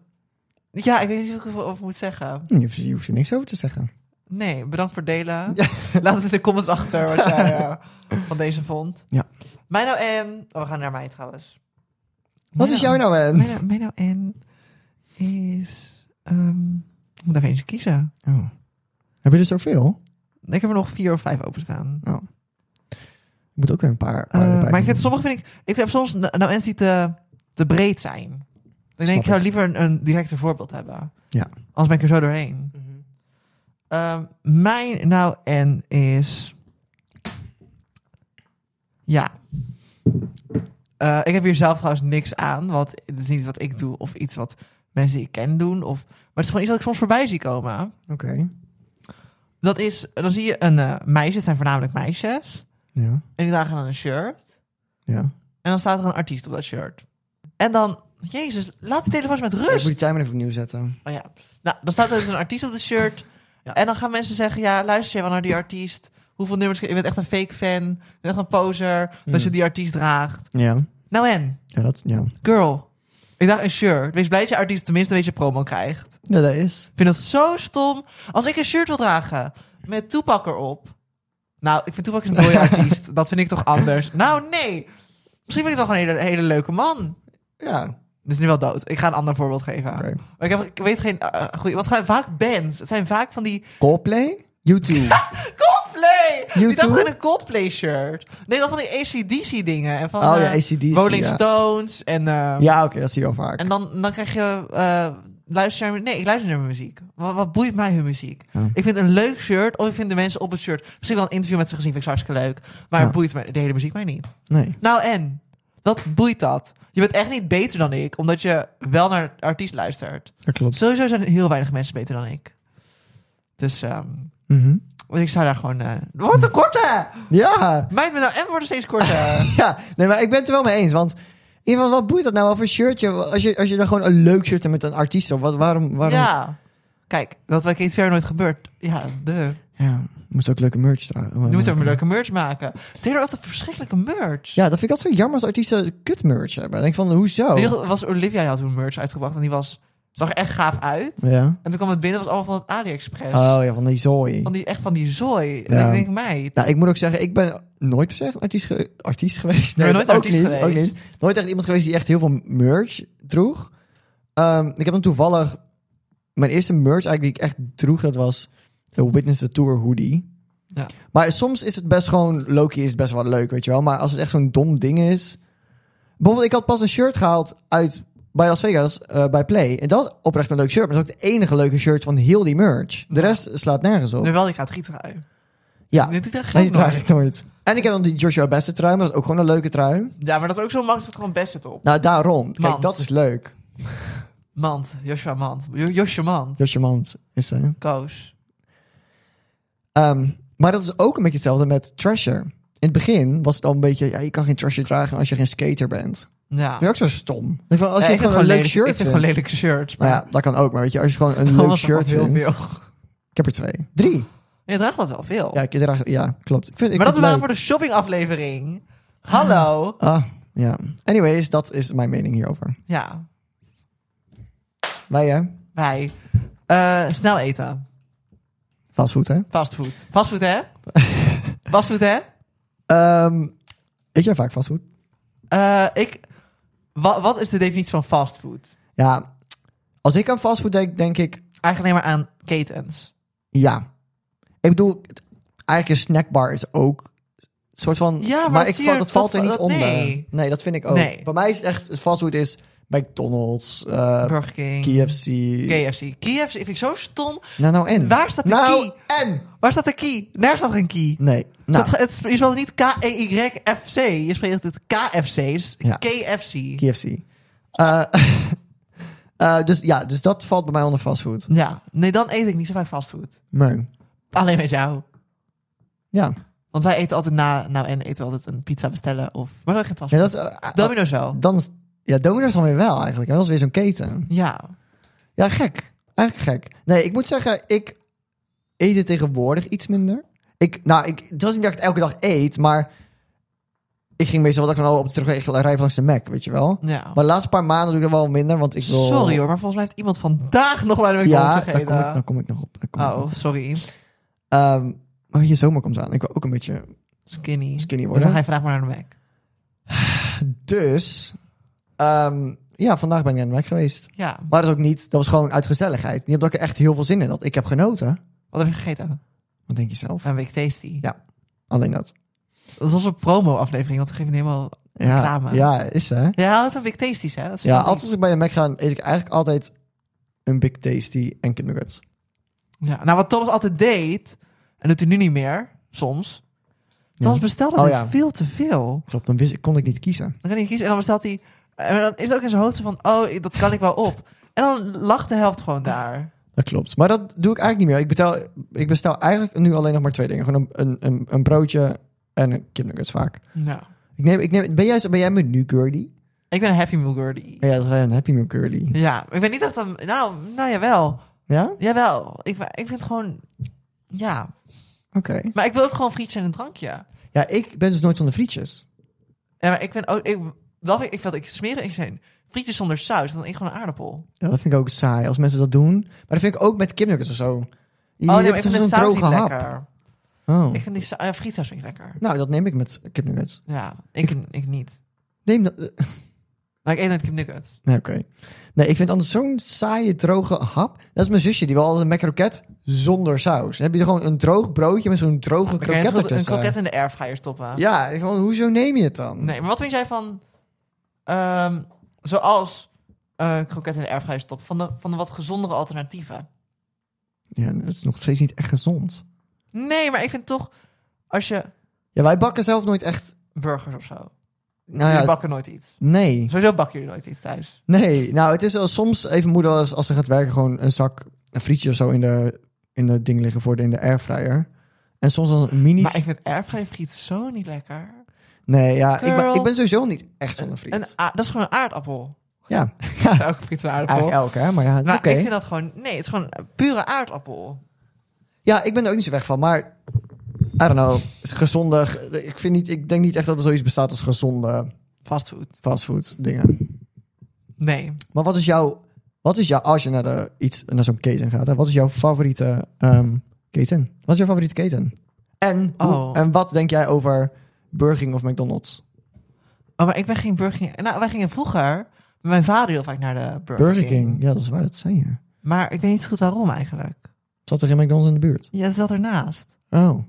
[SPEAKER 2] ja, ik weet niet hoe ik erover moet zeggen.
[SPEAKER 1] Hm, Je hoeft, je hoeft er niks over te zeggen.
[SPEAKER 2] Nee, bedankt voor delen. Laat het in de comments achter wat jij eh, van deze vond.
[SPEAKER 1] Ja.
[SPEAKER 2] Mijn nou en... Oh, we gaan naar mij trouwens.
[SPEAKER 1] Wat is jouw nou
[SPEAKER 2] Mijn
[SPEAKER 1] en?
[SPEAKER 2] nou, mijn nou en is... ehm, ik moet even eens kiezen.
[SPEAKER 1] Oh. Heb je er zoveel?
[SPEAKER 2] Ik heb er nog vier of vijf openstaan.
[SPEAKER 1] Oh. Ik moet ook weer een paar.
[SPEAKER 2] Eh,
[SPEAKER 1] erbij
[SPEAKER 2] maar ik vind
[SPEAKER 1] doen.
[SPEAKER 2] sommige vind ik... Ik heb soms nou nou en die te, te breed zijn. Ik denk, ik zou liever een, een directer voorbeeld hebben.
[SPEAKER 1] Ja.
[SPEAKER 2] Anders ben ik er zo doorheen. Ehm, mijn nou en is... Ja. Eh, ik heb hier zelf trouwens niks aan. Want het is niet iets wat ik doe of iets wat mensen die ik ken doen. Of, maar het is gewoon iets dat ik soms voorbij zie komen.
[SPEAKER 1] Oké.
[SPEAKER 2] Dat is, dan zie je een eh, meisje, het zijn voornamelijk meisjes.
[SPEAKER 1] Ja.
[SPEAKER 2] En die dragen dan een shirt.
[SPEAKER 1] Ja.
[SPEAKER 2] En dan staat er een artiest op dat shirt. En dan, jezus, laat de telefoons met
[SPEAKER 1] Ik moet
[SPEAKER 2] rust.
[SPEAKER 1] die timer even opnieuw zetten.
[SPEAKER 2] Oh ja. Nou, dan staat er dus een artiest op de shirt.
[SPEAKER 1] Ja.
[SPEAKER 2] En dan gaan mensen zeggen, ja, luister je wel naar die artiest? Hoeveel nummers... Je bent echt een fake fan. Je bent echt een poser. Dat je
[SPEAKER 1] Hmm.
[SPEAKER 2] die artiest draagt.
[SPEAKER 1] Ja.
[SPEAKER 2] Nou en,
[SPEAKER 1] Ja, dat, ja.
[SPEAKER 2] girl. Ik dacht een shirt. Wees blij dat je artiest tenminste een beetje promo krijgt.
[SPEAKER 1] Ja, dat is.
[SPEAKER 2] Ik vind dat zo stom. Als ik een shirt wil dragen met Toepak erop. Nou, ik vind Toepak is een mooie artiest. Dat vind ik toch anders. Nou, nee. Misschien vind ik toch een hele, hele leuke man.
[SPEAKER 1] Ja.
[SPEAKER 2] Dit is nu wel dood. Ik ga een ander voorbeeld geven.
[SPEAKER 1] Oké.
[SPEAKER 2] Maar ik, heb, ik eh, weet geen... eh, goeie, wat gaan vaak bands? Het zijn vaak van die...
[SPEAKER 1] Coldplay? YouTube.
[SPEAKER 2] Coldplay! Coldplay! Die dacht
[SPEAKER 1] U2?
[SPEAKER 2] in een Coldplay shirt. Nee, dan van die ACDC dingen. En van,
[SPEAKER 1] Oh ja,
[SPEAKER 2] eh,
[SPEAKER 1] AC/DC,
[SPEAKER 2] Rolling
[SPEAKER 1] ja.
[SPEAKER 2] Stones. En, eh,
[SPEAKER 1] Ja, oké, dat zie je wel vaak.
[SPEAKER 2] en dan, dan krijg je... eh luister naar, nee, ik luister naar mijn muziek. Wat, wat boeit mij hun muziek?
[SPEAKER 1] Ja.
[SPEAKER 2] Ik vind een leuk shirt, of ik vind de mensen op het shirt... Misschien wel een interview met ze gezien, vind ik hartstikke leuk. Maar
[SPEAKER 1] Ja.
[SPEAKER 2] het boeit mij, de hele muziek mij niet.
[SPEAKER 1] Nee.
[SPEAKER 2] Nou en? Wat boeit dat? Je bent echt niet beter dan ik, omdat je wel naar artiest luistert.
[SPEAKER 1] Dat klopt.
[SPEAKER 2] Sowieso zijn er heel weinig mensen beter dan ik. Dus ehm,
[SPEAKER 1] Mhm.
[SPEAKER 2] ik zou daar gewoon... eh, wat een korte!
[SPEAKER 1] Ja.
[SPEAKER 2] Meid met nou en worden steeds korter.
[SPEAKER 1] ja, nee, maar ik ben het er wel mee eens. Want in ieder geval, wat boeit dat nou wel voor shirtje? Als je, als je dan gewoon een leuk shirt hebt met een artiest op, wat, waarom, waarom?
[SPEAKER 2] ja. Kijk, dat bij Kate Fair nooit gebeurt. Ja, de.
[SPEAKER 1] Ja, moet ook leuke merch dragen.
[SPEAKER 2] Nu moeten we een leuke merch maken. Taylor had een verschrikkelijke merch.
[SPEAKER 1] Ja, dat vind ik altijd zo jammer als artiesten kut merch hebben. Dan denk ik van, hoezo?
[SPEAKER 2] In ieder geval was Olivia die had toen merch uitgebracht en die was, zag er echt gaaf uit.
[SPEAKER 1] Ja.
[SPEAKER 2] En toen kwam het binnen, dat was allemaal van het AliExpress.
[SPEAKER 1] Oh ja, van die zooi.
[SPEAKER 2] Van die, echt van die zooi.
[SPEAKER 1] Ja.
[SPEAKER 2] En ik denk, meid.
[SPEAKER 1] Nou, ik moet ook zeggen, ik ben nooit per se een artiest, ge- artiest geweest.
[SPEAKER 2] Nee,
[SPEAKER 1] dat
[SPEAKER 2] nooit
[SPEAKER 1] ook
[SPEAKER 2] artiest
[SPEAKER 1] niet,
[SPEAKER 2] geweest.
[SPEAKER 1] Ook niet. Nooit echt iemand geweest die echt heel veel merch droeg. Ehm, ik heb dan toevallig... Mijn eerste merch eigenlijk die ik echt droeg, dat was de Witness the Tour hoodie.
[SPEAKER 2] Ja.
[SPEAKER 1] Maar soms is het best gewoon... Loki is best wel leuk, weet je wel. Maar als het echt zo'n dom ding is... Bijvoorbeeld, ik had pas een shirt gehaald uit... Bij Las Vegas, eh, bij Play. En dat was oprecht een leuk shirt. Maar dat is ook de enige leuke shirt van heel die merch. De
[SPEAKER 2] Ja.
[SPEAKER 1] rest slaat nergens op.
[SPEAKER 2] Nu wel, die gaat gietrui.
[SPEAKER 1] Ja.
[SPEAKER 2] Die draag ik
[SPEAKER 1] Nee,
[SPEAKER 2] ook
[SPEAKER 1] die draag
[SPEAKER 2] nooit.
[SPEAKER 1] ik nooit. En ik heb dan die Joshua Beste trui, maar dat is ook gewoon een leuke trui.
[SPEAKER 2] Ja, maar dat is ook zo makkelijk dat het gewoon best zit op.
[SPEAKER 1] Nou, daarom. Kijk,
[SPEAKER 2] Mand.
[SPEAKER 1] dat is leuk.
[SPEAKER 2] Mand, Joshua Mand. Jo- Joshua Mand.
[SPEAKER 1] Joshua Mand is hij.
[SPEAKER 2] Koos.
[SPEAKER 1] Ehm, maar dat is ook een beetje hetzelfde met Treasure. In het begin was het al een beetje, ja, je kan geen Treasure dragen als je geen skater bent.
[SPEAKER 2] Ja.
[SPEAKER 1] Dat is ook zo stom. Ik vond, als
[SPEAKER 2] Ja,
[SPEAKER 1] je
[SPEAKER 2] ik vind
[SPEAKER 1] gewoon een leuk
[SPEAKER 2] lelijk-
[SPEAKER 1] shirt
[SPEAKER 2] Ik vind gewoon
[SPEAKER 1] vindt-
[SPEAKER 2] lelijke shirts.
[SPEAKER 1] Nou
[SPEAKER 2] maar
[SPEAKER 1] ja, dat kan ook, maar weet je, als je gewoon een
[SPEAKER 2] Thomas
[SPEAKER 1] leuk
[SPEAKER 2] draagt
[SPEAKER 1] shirt
[SPEAKER 2] heel
[SPEAKER 1] vindt...
[SPEAKER 2] veel.
[SPEAKER 1] Ik heb er twee. Drie.
[SPEAKER 2] Je draagt dat wel veel.
[SPEAKER 1] Ja, ik draag, ja klopt. Ik vind, ik
[SPEAKER 2] maar dat
[SPEAKER 1] vind het
[SPEAKER 2] waren voor de shoppingaflevering. Hallo.
[SPEAKER 1] leuk. Ah, ja. Anyways, dat is mijn mening hierover.
[SPEAKER 2] Ja,
[SPEAKER 1] Wij, hè?
[SPEAKER 2] wij. Eh, snel eten.
[SPEAKER 1] Fastfood, hè?
[SPEAKER 2] Fastfood. Fastfood, hè? Fastfood, hè?
[SPEAKER 1] Ehm eet jij vaak fastfood?
[SPEAKER 2] Eh, ik... Wa- wat is de definitie van fastfood?
[SPEAKER 1] Ja, als ik aan fastfood denk, denk ik
[SPEAKER 2] Eigenlijk alleen maar aan ketens.
[SPEAKER 1] ja. Ik bedoel, het- eigenlijk een snackbar is ook een soort van.
[SPEAKER 2] Ja, maar dat
[SPEAKER 1] ik
[SPEAKER 2] zie
[SPEAKER 1] val-
[SPEAKER 2] je-
[SPEAKER 1] dat valt
[SPEAKER 2] dat-
[SPEAKER 1] er niet
[SPEAKER 2] dat-
[SPEAKER 1] onder.
[SPEAKER 2] nee.
[SPEAKER 1] nee, dat vind ik ook.
[SPEAKER 2] Nee.
[SPEAKER 1] Bij mij is het echt fastfood is McDonald's, eh,
[SPEAKER 2] Burger King.
[SPEAKER 1] KFC.
[SPEAKER 2] KFC. KFC vind ik zo stom.
[SPEAKER 1] Nou, nou en.
[SPEAKER 2] Waar staat de
[SPEAKER 1] nou,
[SPEAKER 2] key?
[SPEAKER 1] en.
[SPEAKER 2] Waar staat de key? Nergens staat er een key.
[SPEAKER 1] Nee. Nou,
[SPEAKER 2] Dat ge- het, je speelt niet E K-E-Y-F-C. Je spreekt het KFC. Dus
[SPEAKER 1] Ja.
[SPEAKER 2] KFC.
[SPEAKER 1] KFC. Eh, eh, dus ja, dus dat valt bij mij onder fastfood.
[SPEAKER 2] Ja. Nee, dan eet ik niet zo vaak fastfood.
[SPEAKER 1] Nee.
[SPEAKER 2] Alleen met jou.
[SPEAKER 1] Ja.
[SPEAKER 2] Want wij eten altijd na... Nou, en eten we altijd een pizza bestellen of... Maar dat is geen
[SPEAKER 1] ja
[SPEAKER 2] fastfood.
[SPEAKER 1] dat is, eh,
[SPEAKER 2] Domino's wel.
[SPEAKER 1] dan is, ja, Domino's dan weer wel eigenlijk. En dat is weer zo'n keten.
[SPEAKER 2] Ja.
[SPEAKER 1] Ja, gek. Eigenlijk gek. Nee, ik moet zeggen, ik eet het tegenwoordig iets minder. Ik, nou, ik, het was niet dat ik het elke dag eet, maar ik ging meestal wel dat ik van, oh, op de terugweg ik wil rijden langs de Mac, weet je wel.
[SPEAKER 2] Ja.
[SPEAKER 1] Maar de laatste paar maanden doe ik dat wel minder, want ik wil...
[SPEAKER 2] Sorry hoor, maar volgens mij heeft iemand vandaag nog bij de McDonald's
[SPEAKER 1] Ja, daar
[SPEAKER 2] gegeten.
[SPEAKER 1] kom, ik, daar kom ik nog op. daar kom ik nog op.
[SPEAKER 2] Oh, sorry.
[SPEAKER 1] Ehm, maar je zomer komt aan. Ik wil ook een beetje
[SPEAKER 2] Skinny.
[SPEAKER 1] skinny
[SPEAKER 2] Dus dan ga
[SPEAKER 1] worden.
[SPEAKER 2] je vandaag maar naar de Mac.
[SPEAKER 1] Dus, ehm, ja, vandaag ben ik naar de Mac geweest.
[SPEAKER 2] Ja.
[SPEAKER 1] Maar dat is ook niet, dat was gewoon uit gezelligheid. Niet omdat ik er echt heel veel zin in had. Ik heb genoten.
[SPEAKER 2] Wat heb je gegeten?
[SPEAKER 1] Wat denk je zelf?
[SPEAKER 2] Een week tasty.
[SPEAKER 1] Ja. Alleen dat.
[SPEAKER 2] Dat was een promo-aflevering, want we geven helemaal...
[SPEAKER 1] Ja,
[SPEAKER 2] Reclame.
[SPEAKER 1] ja is hè.
[SPEAKER 2] Ja, houdt van Big Tasties, hè? Dat is
[SPEAKER 1] Ja,
[SPEAKER 2] wel-
[SPEAKER 1] altijd als ik bij de Mac ga, eet ik eigenlijk altijd een Big Tasty en Kid Nuggets.
[SPEAKER 2] Ja, nou, wat Thomas altijd deed, en doet hij nu niet meer, soms. Thomas bestelde
[SPEAKER 1] Oh,
[SPEAKER 2] altijd
[SPEAKER 1] ja.
[SPEAKER 2] veel te veel.
[SPEAKER 1] Klopt, dan wist, ik- kon ik niet kiezen.
[SPEAKER 2] Dan kan hij kiezen en dan bestelt hij... En dan is het ook in zijn hoofd zo van, oh, dat kan ik wel op. En dan lacht de helft gewoon daar.
[SPEAKER 1] Dat klopt. Maar dat doe ik eigenlijk niet meer. Ik, betaal, ik bestel eigenlijk nu alleen nog maar twee dingen. Gewoon een, een, een, een broodje en een Kid Nuggets vaak.
[SPEAKER 2] Nou,
[SPEAKER 1] Ik neem, ik neem, ben, jij, zo- ben jij menu curly?
[SPEAKER 2] ik ben een Happy Meal girlie.
[SPEAKER 1] Ja, dat is een Happy Meal curly.
[SPEAKER 2] Ja, ik ben niet echt een... Nou, nou jawel.
[SPEAKER 1] Ja?
[SPEAKER 2] Jawel. Ik, ik vind het gewoon... Ja.
[SPEAKER 1] Oké.
[SPEAKER 2] Maar ik wil ook gewoon frietjes en een drankje.
[SPEAKER 1] Ja, ik ben dus nooit van de frietjes.
[SPEAKER 2] Ja, maar ik ben ook... Ik, dat vind ik, ik, ik smeren, ik zei frietjes zonder saus. En dan eet ik gewoon een aardappel. Oh,
[SPEAKER 1] Ja, dat vind ik ook saai als mensen dat doen. Maar dat vind ik ook met Kid Nuggets of zo. Je
[SPEAKER 2] Oh nee, maar
[SPEAKER 1] hebt toch
[SPEAKER 2] ik vind de
[SPEAKER 1] zo'n
[SPEAKER 2] saus niet
[SPEAKER 1] droge hap.
[SPEAKER 2] lekker.
[SPEAKER 1] Oh.
[SPEAKER 2] Ik vind die sa- ja, frietsaus vind ik lekker.
[SPEAKER 1] Nou, dat neem ik met Kid Nuggets.
[SPEAKER 2] Ja, ik, ik niet.
[SPEAKER 1] Neem dat. eh,
[SPEAKER 2] Nou, ik eet nooit kipnuggets.
[SPEAKER 1] Nee, oké. Nee, ik vind anders zo'n saaie, droge hap. Dat is mijn zusje, die wil altijd een macroket zonder saus. Dan heb je er gewoon een droog broodje met zo'n droge
[SPEAKER 2] Dan kan je net
[SPEAKER 1] kroket
[SPEAKER 2] zo goed een
[SPEAKER 1] ertussen.
[SPEAKER 2] kroket in de airfryer stoppen.
[SPEAKER 1] Ja, ik van, hoezo neem je het dan?
[SPEAKER 2] Nee, maar wat vind jij van... ehm, zoals eh kroket in de airfryer stoppen, van de, van de wat gezondere alternatieven?
[SPEAKER 1] Ja, dat is nog steeds niet echt gezond.
[SPEAKER 2] Nee, maar ik vind toch... Als je
[SPEAKER 1] Ja, wij bakken zelf nooit echt...
[SPEAKER 2] burgers of zo.
[SPEAKER 1] Nou
[SPEAKER 2] Jullie
[SPEAKER 1] ja,
[SPEAKER 2] bakken nooit iets.
[SPEAKER 1] nee.
[SPEAKER 2] Sowieso bakken jullie nooit iets thuis.
[SPEAKER 1] Nee, nou, het is wel soms even moeder als, als ze gaat werken... gewoon een zak, een frietje of zo in de, in de ding liggen voor de, in de airfryer. En soms dan een mini...
[SPEAKER 2] Maar ik vind airfryer friet zo niet lekker.
[SPEAKER 1] Nee, ja, ik, ben-
[SPEAKER 2] Girl.
[SPEAKER 1] ik ben sowieso niet echt van een friet.
[SPEAKER 2] Een a- dat is gewoon een aardappel.
[SPEAKER 1] ja,
[SPEAKER 2] Elke friet is een aardappel.
[SPEAKER 1] eigenlijk elke, hè, maar ja, het is
[SPEAKER 2] Nou,
[SPEAKER 1] oké.
[SPEAKER 2] ik vind dat gewoon... Nee, het is gewoon pure aardappel.
[SPEAKER 1] Ja, ik ben er ook niet zo weg van, maar... I don't know, gezonde... ge- Ik, vind niet, ik denk niet echt dat er zoiets bestaat als gezonde
[SPEAKER 2] Fastfood.
[SPEAKER 1] fastfood dingen.
[SPEAKER 2] Nee.
[SPEAKER 1] Maar wat is jouw, wat is jouw als je naar, de, iets, naar zo'n keten gaat, hè, wat is jouw favoriete ehm, keten? Wat is jouw favoriete keten? En, hoe-
[SPEAKER 2] Oh.
[SPEAKER 1] en wat denk jij over Burger King of McDonald's?
[SPEAKER 2] Oh, maar ik ben geen Burger King. Nou, wij gingen vroeger met mijn vader heel vaak naar de Burger,
[SPEAKER 1] Burger King, ja, dat is waar, dat zijn je.
[SPEAKER 2] Maar ik weet niet zo goed waarom eigenlijk.
[SPEAKER 1] Zat er geen McDonald's in de buurt?
[SPEAKER 2] Ja, het zat ernaast.
[SPEAKER 1] Oh,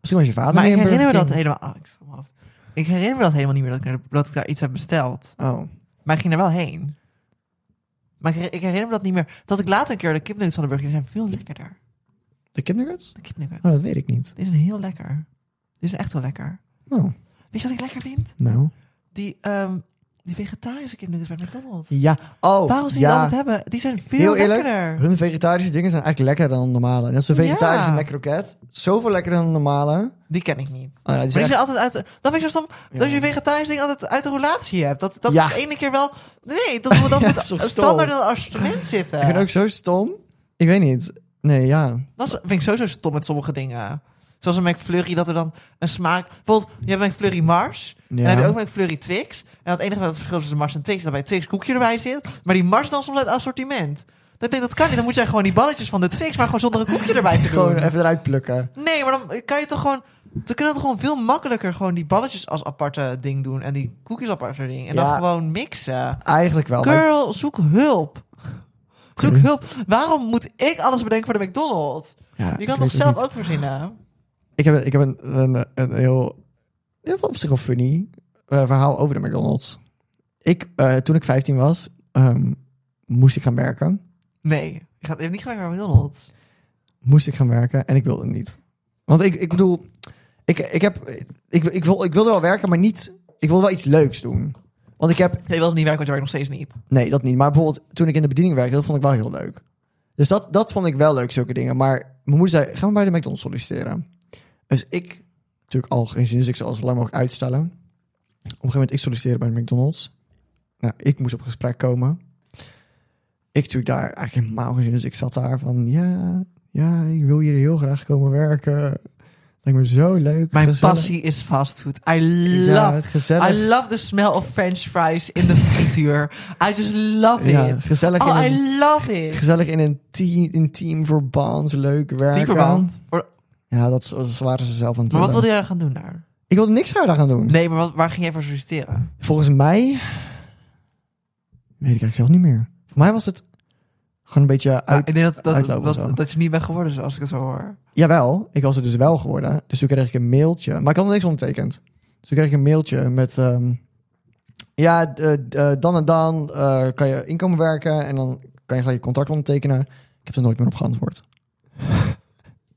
[SPEAKER 1] misschien was je vader
[SPEAKER 2] maar
[SPEAKER 1] meer
[SPEAKER 2] ik
[SPEAKER 1] een
[SPEAKER 2] herinner me
[SPEAKER 1] Burger
[SPEAKER 2] dat helemaal... ah, ik, schrok mijn hoofd. ik herinner me dat helemaal niet meer dat ik, naar de- dat ik daar iets heb besteld.
[SPEAKER 1] King. Oh,
[SPEAKER 2] Maar ik ging er wel heen. Maar ik, her- ik herinner me dat niet meer. Dat ik later een keer de kipnuggets van de Burger King zijn veel lekkerder.
[SPEAKER 1] de kipnuggets?
[SPEAKER 2] De kipnuggets.
[SPEAKER 1] Oh, dat weet ik niet.
[SPEAKER 2] Die zijn heel lekker. Die zijn echt wel lekker.
[SPEAKER 1] Oh,
[SPEAKER 2] Weet je wat ik lekker vind?
[SPEAKER 1] nou.
[SPEAKER 2] Die, ehm, die vegetarische kipnuggets bij McDonald's.
[SPEAKER 1] Ja, oh,
[SPEAKER 2] Waarom ze die
[SPEAKER 1] ja.
[SPEAKER 2] altijd hebben? Die zijn veel
[SPEAKER 1] Heel eerlijk,
[SPEAKER 2] lekkerder.
[SPEAKER 1] hun vegetarische dingen zijn eigenlijk lekkerder dan de normale. Net zo'n
[SPEAKER 2] Ja.
[SPEAKER 1] vegetarische macroket, zoveel lekkerder dan de normale.
[SPEAKER 2] Die ken ik niet.
[SPEAKER 1] Oh, ja, die
[SPEAKER 2] Maar
[SPEAKER 1] zijn
[SPEAKER 2] die zijn
[SPEAKER 1] echt-
[SPEAKER 2] altijd uit. Dat vind ik zo stom. Dat
[SPEAKER 1] Ja.
[SPEAKER 2] je vegetarisch ding altijd uit de relatie hebt. Dat dat
[SPEAKER 1] Ja.
[SPEAKER 2] het ene keer wel. Nee, dat we dat
[SPEAKER 1] Ja,
[SPEAKER 2] moet
[SPEAKER 1] dat is toch
[SPEAKER 2] een
[SPEAKER 1] stom?
[SPEAKER 2] standaard assortiment zitten.
[SPEAKER 1] Ik vind ook zo stom. Ik weet niet. Nee, ja.
[SPEAKER 2] Dat is- vind ik sowieso stom met sommige dingen. Zoals een McFlurry, dat er dan een smaak. Bijvoorbeeld, je hebt McFlurry Mars. En
[SPEAKER 1] Ja.
[SPEAKER 2] dan heb je ook McFlurry Twix. En het enige wat het verschil is tussen Mars en Twix is dat bij Twix koekje erbij zit. Maar die Mars dan soms uit assortiment. Dat ik denk, dat kan niet. Dan moet jij gewoon die balletjes van de Twix, maar gewoon zonder een koekje erbij te
[SPEAKER 1] Gewoon
[SPEAKER 2] doen.
[SPEAKER 1] even eruit plukken.
[SPEAKER 2] Nee, maar dan kan je toch gewoon. Dan kunnen we toch gewoon veel makkelijker gewoon die balletjes als aparte ding doen. En die koekjes als aparte ding. En
[SPEAKER 1] Ja.
[SPEAKER 2] dan gewoon mixen.
[SPEAKER 1] Eigenlijk wel. maar-
[SPEAKER 2] Girl, zoek hulp. Zoek
[SPEAKER 1] Oké.
[SPEAKER 2] hulp. Waarom moet ik alles bedenken voor de McDonald's?
[SPEAKER 1] Ja,
[SPEAKER 2] Je
[SPEAKER 1] ik
[SPEAKER 2] kan
[SPEAKER 1] weet
[SPEAKER 2] toch
[SPEAKER 1] het
[SPEAKER 2] zelf
[SPEAKER 1] niet.
[SPEAKER 2] ook verzinnen?
[SPEAKER 1] Ik heb, ik heb een, een, een heel... ja, op zich wel funny eh, verhaal over de McDonald's. Ik, eh, toen ik 15 was, ehm, moest ik gaan werken.
[SPEAKER 2] Nee, je gaat je hebt niet gelijk naar McDonald's.
[SPEAKER 1] Moest ik gaan werken en ik wilde het niet. Want ik, ik bedoel... Ik, ik, heb, ik, ik, wil, ik wilde wel werken, maar niet... Ik wilde wel iets leuks doen. Want ik heb
[SPEAKER 2] Nee, je wilt niet werken, want je werkt nog steeds niet.
[SPEAKER 1] Nee, dat niet. Maar bijvoorbeeld toen ik in de bediening werkte, dat vond ik wel heel leuk. Dus dat, dat vond ik wel leuk, zulke dingen. Maar mijn moeder zei, gaan we bij de McDonald's solliciteren. Dus ik, natuurlijk al geen zin, dus ik zal zo lang mogelijk uitstellen. Op een gegeven moment, ik solliciteerde bij de McDonald's. Nou, ik moest op gesprek komen. Ik natuurlijk daar eigenlijk helemaal geen zin, dus ik zat daar van, ja, ja, ik wil hier heel graag komen werken. Lijkt me zo leuk.
[SPEAKER 2] Mijn
[SPEAKER 1] gezellig.
[SPEAKER 2] passie is fastfood. I
[SPEAKER 1] Ja,
[SPEAKER 2] love,
[SPEAKER 1] gezellig.
[SPEAKER 2] I love the smell of French fries in de frituur. I just love
[SPEAKER 1] ja,
[SPEAKER 2] it.
[SPEAKER 1] gezellig,
[SPEAKER 2] Oh,
[SPEAKER 1] in een,
[SPEAKER 2] I love it.
[SPEAKER 1] gezellig in een team, in teamverband, leuk werken.
[SPEAKER 2] Teamverband. Voor-
[SPEAKER 1] Ja, dat z- zo waren ze zelf aan het
[SPEAKER 2] Maar wat
[SPEAKER 1] lullen.
[SPEAKER 2] wilde jij dan gaan doen daar?
[SPEAKER 1] Ik wilde niks daar gaan doen.
[SPEAKER 2] Nee, maar wat, waar ging jij voor solliciteren?
[SPEAKER 1] Volgens mij... Weet ik eigenlijk zelf niet meer. Voor mij was het gewoon een beetje
[SPEAKER 2] Ja,
[SPEAKER 1] uit...
[SPEAKER 2] ik denk dat, dat,
[SPEAKER 1] uitlopen of zo.
[SPEAKER 2] dat, dat je niet bent geworden zoals ik het zo hoor.
[SPEAKER 1] Jawel, ik was er dus wel geworden. Dus toen kreeg ik een mailtje. Maar ik had nog niks ondertekend. Dus toen kreeg ik een mailtje met... ehm, ja, d- eh, d- eh, dan en dan eh, kan je inkomen werken... en dan kan je gelijk je contract ondertekenen. Ik heb er nooit meer op geantwoord.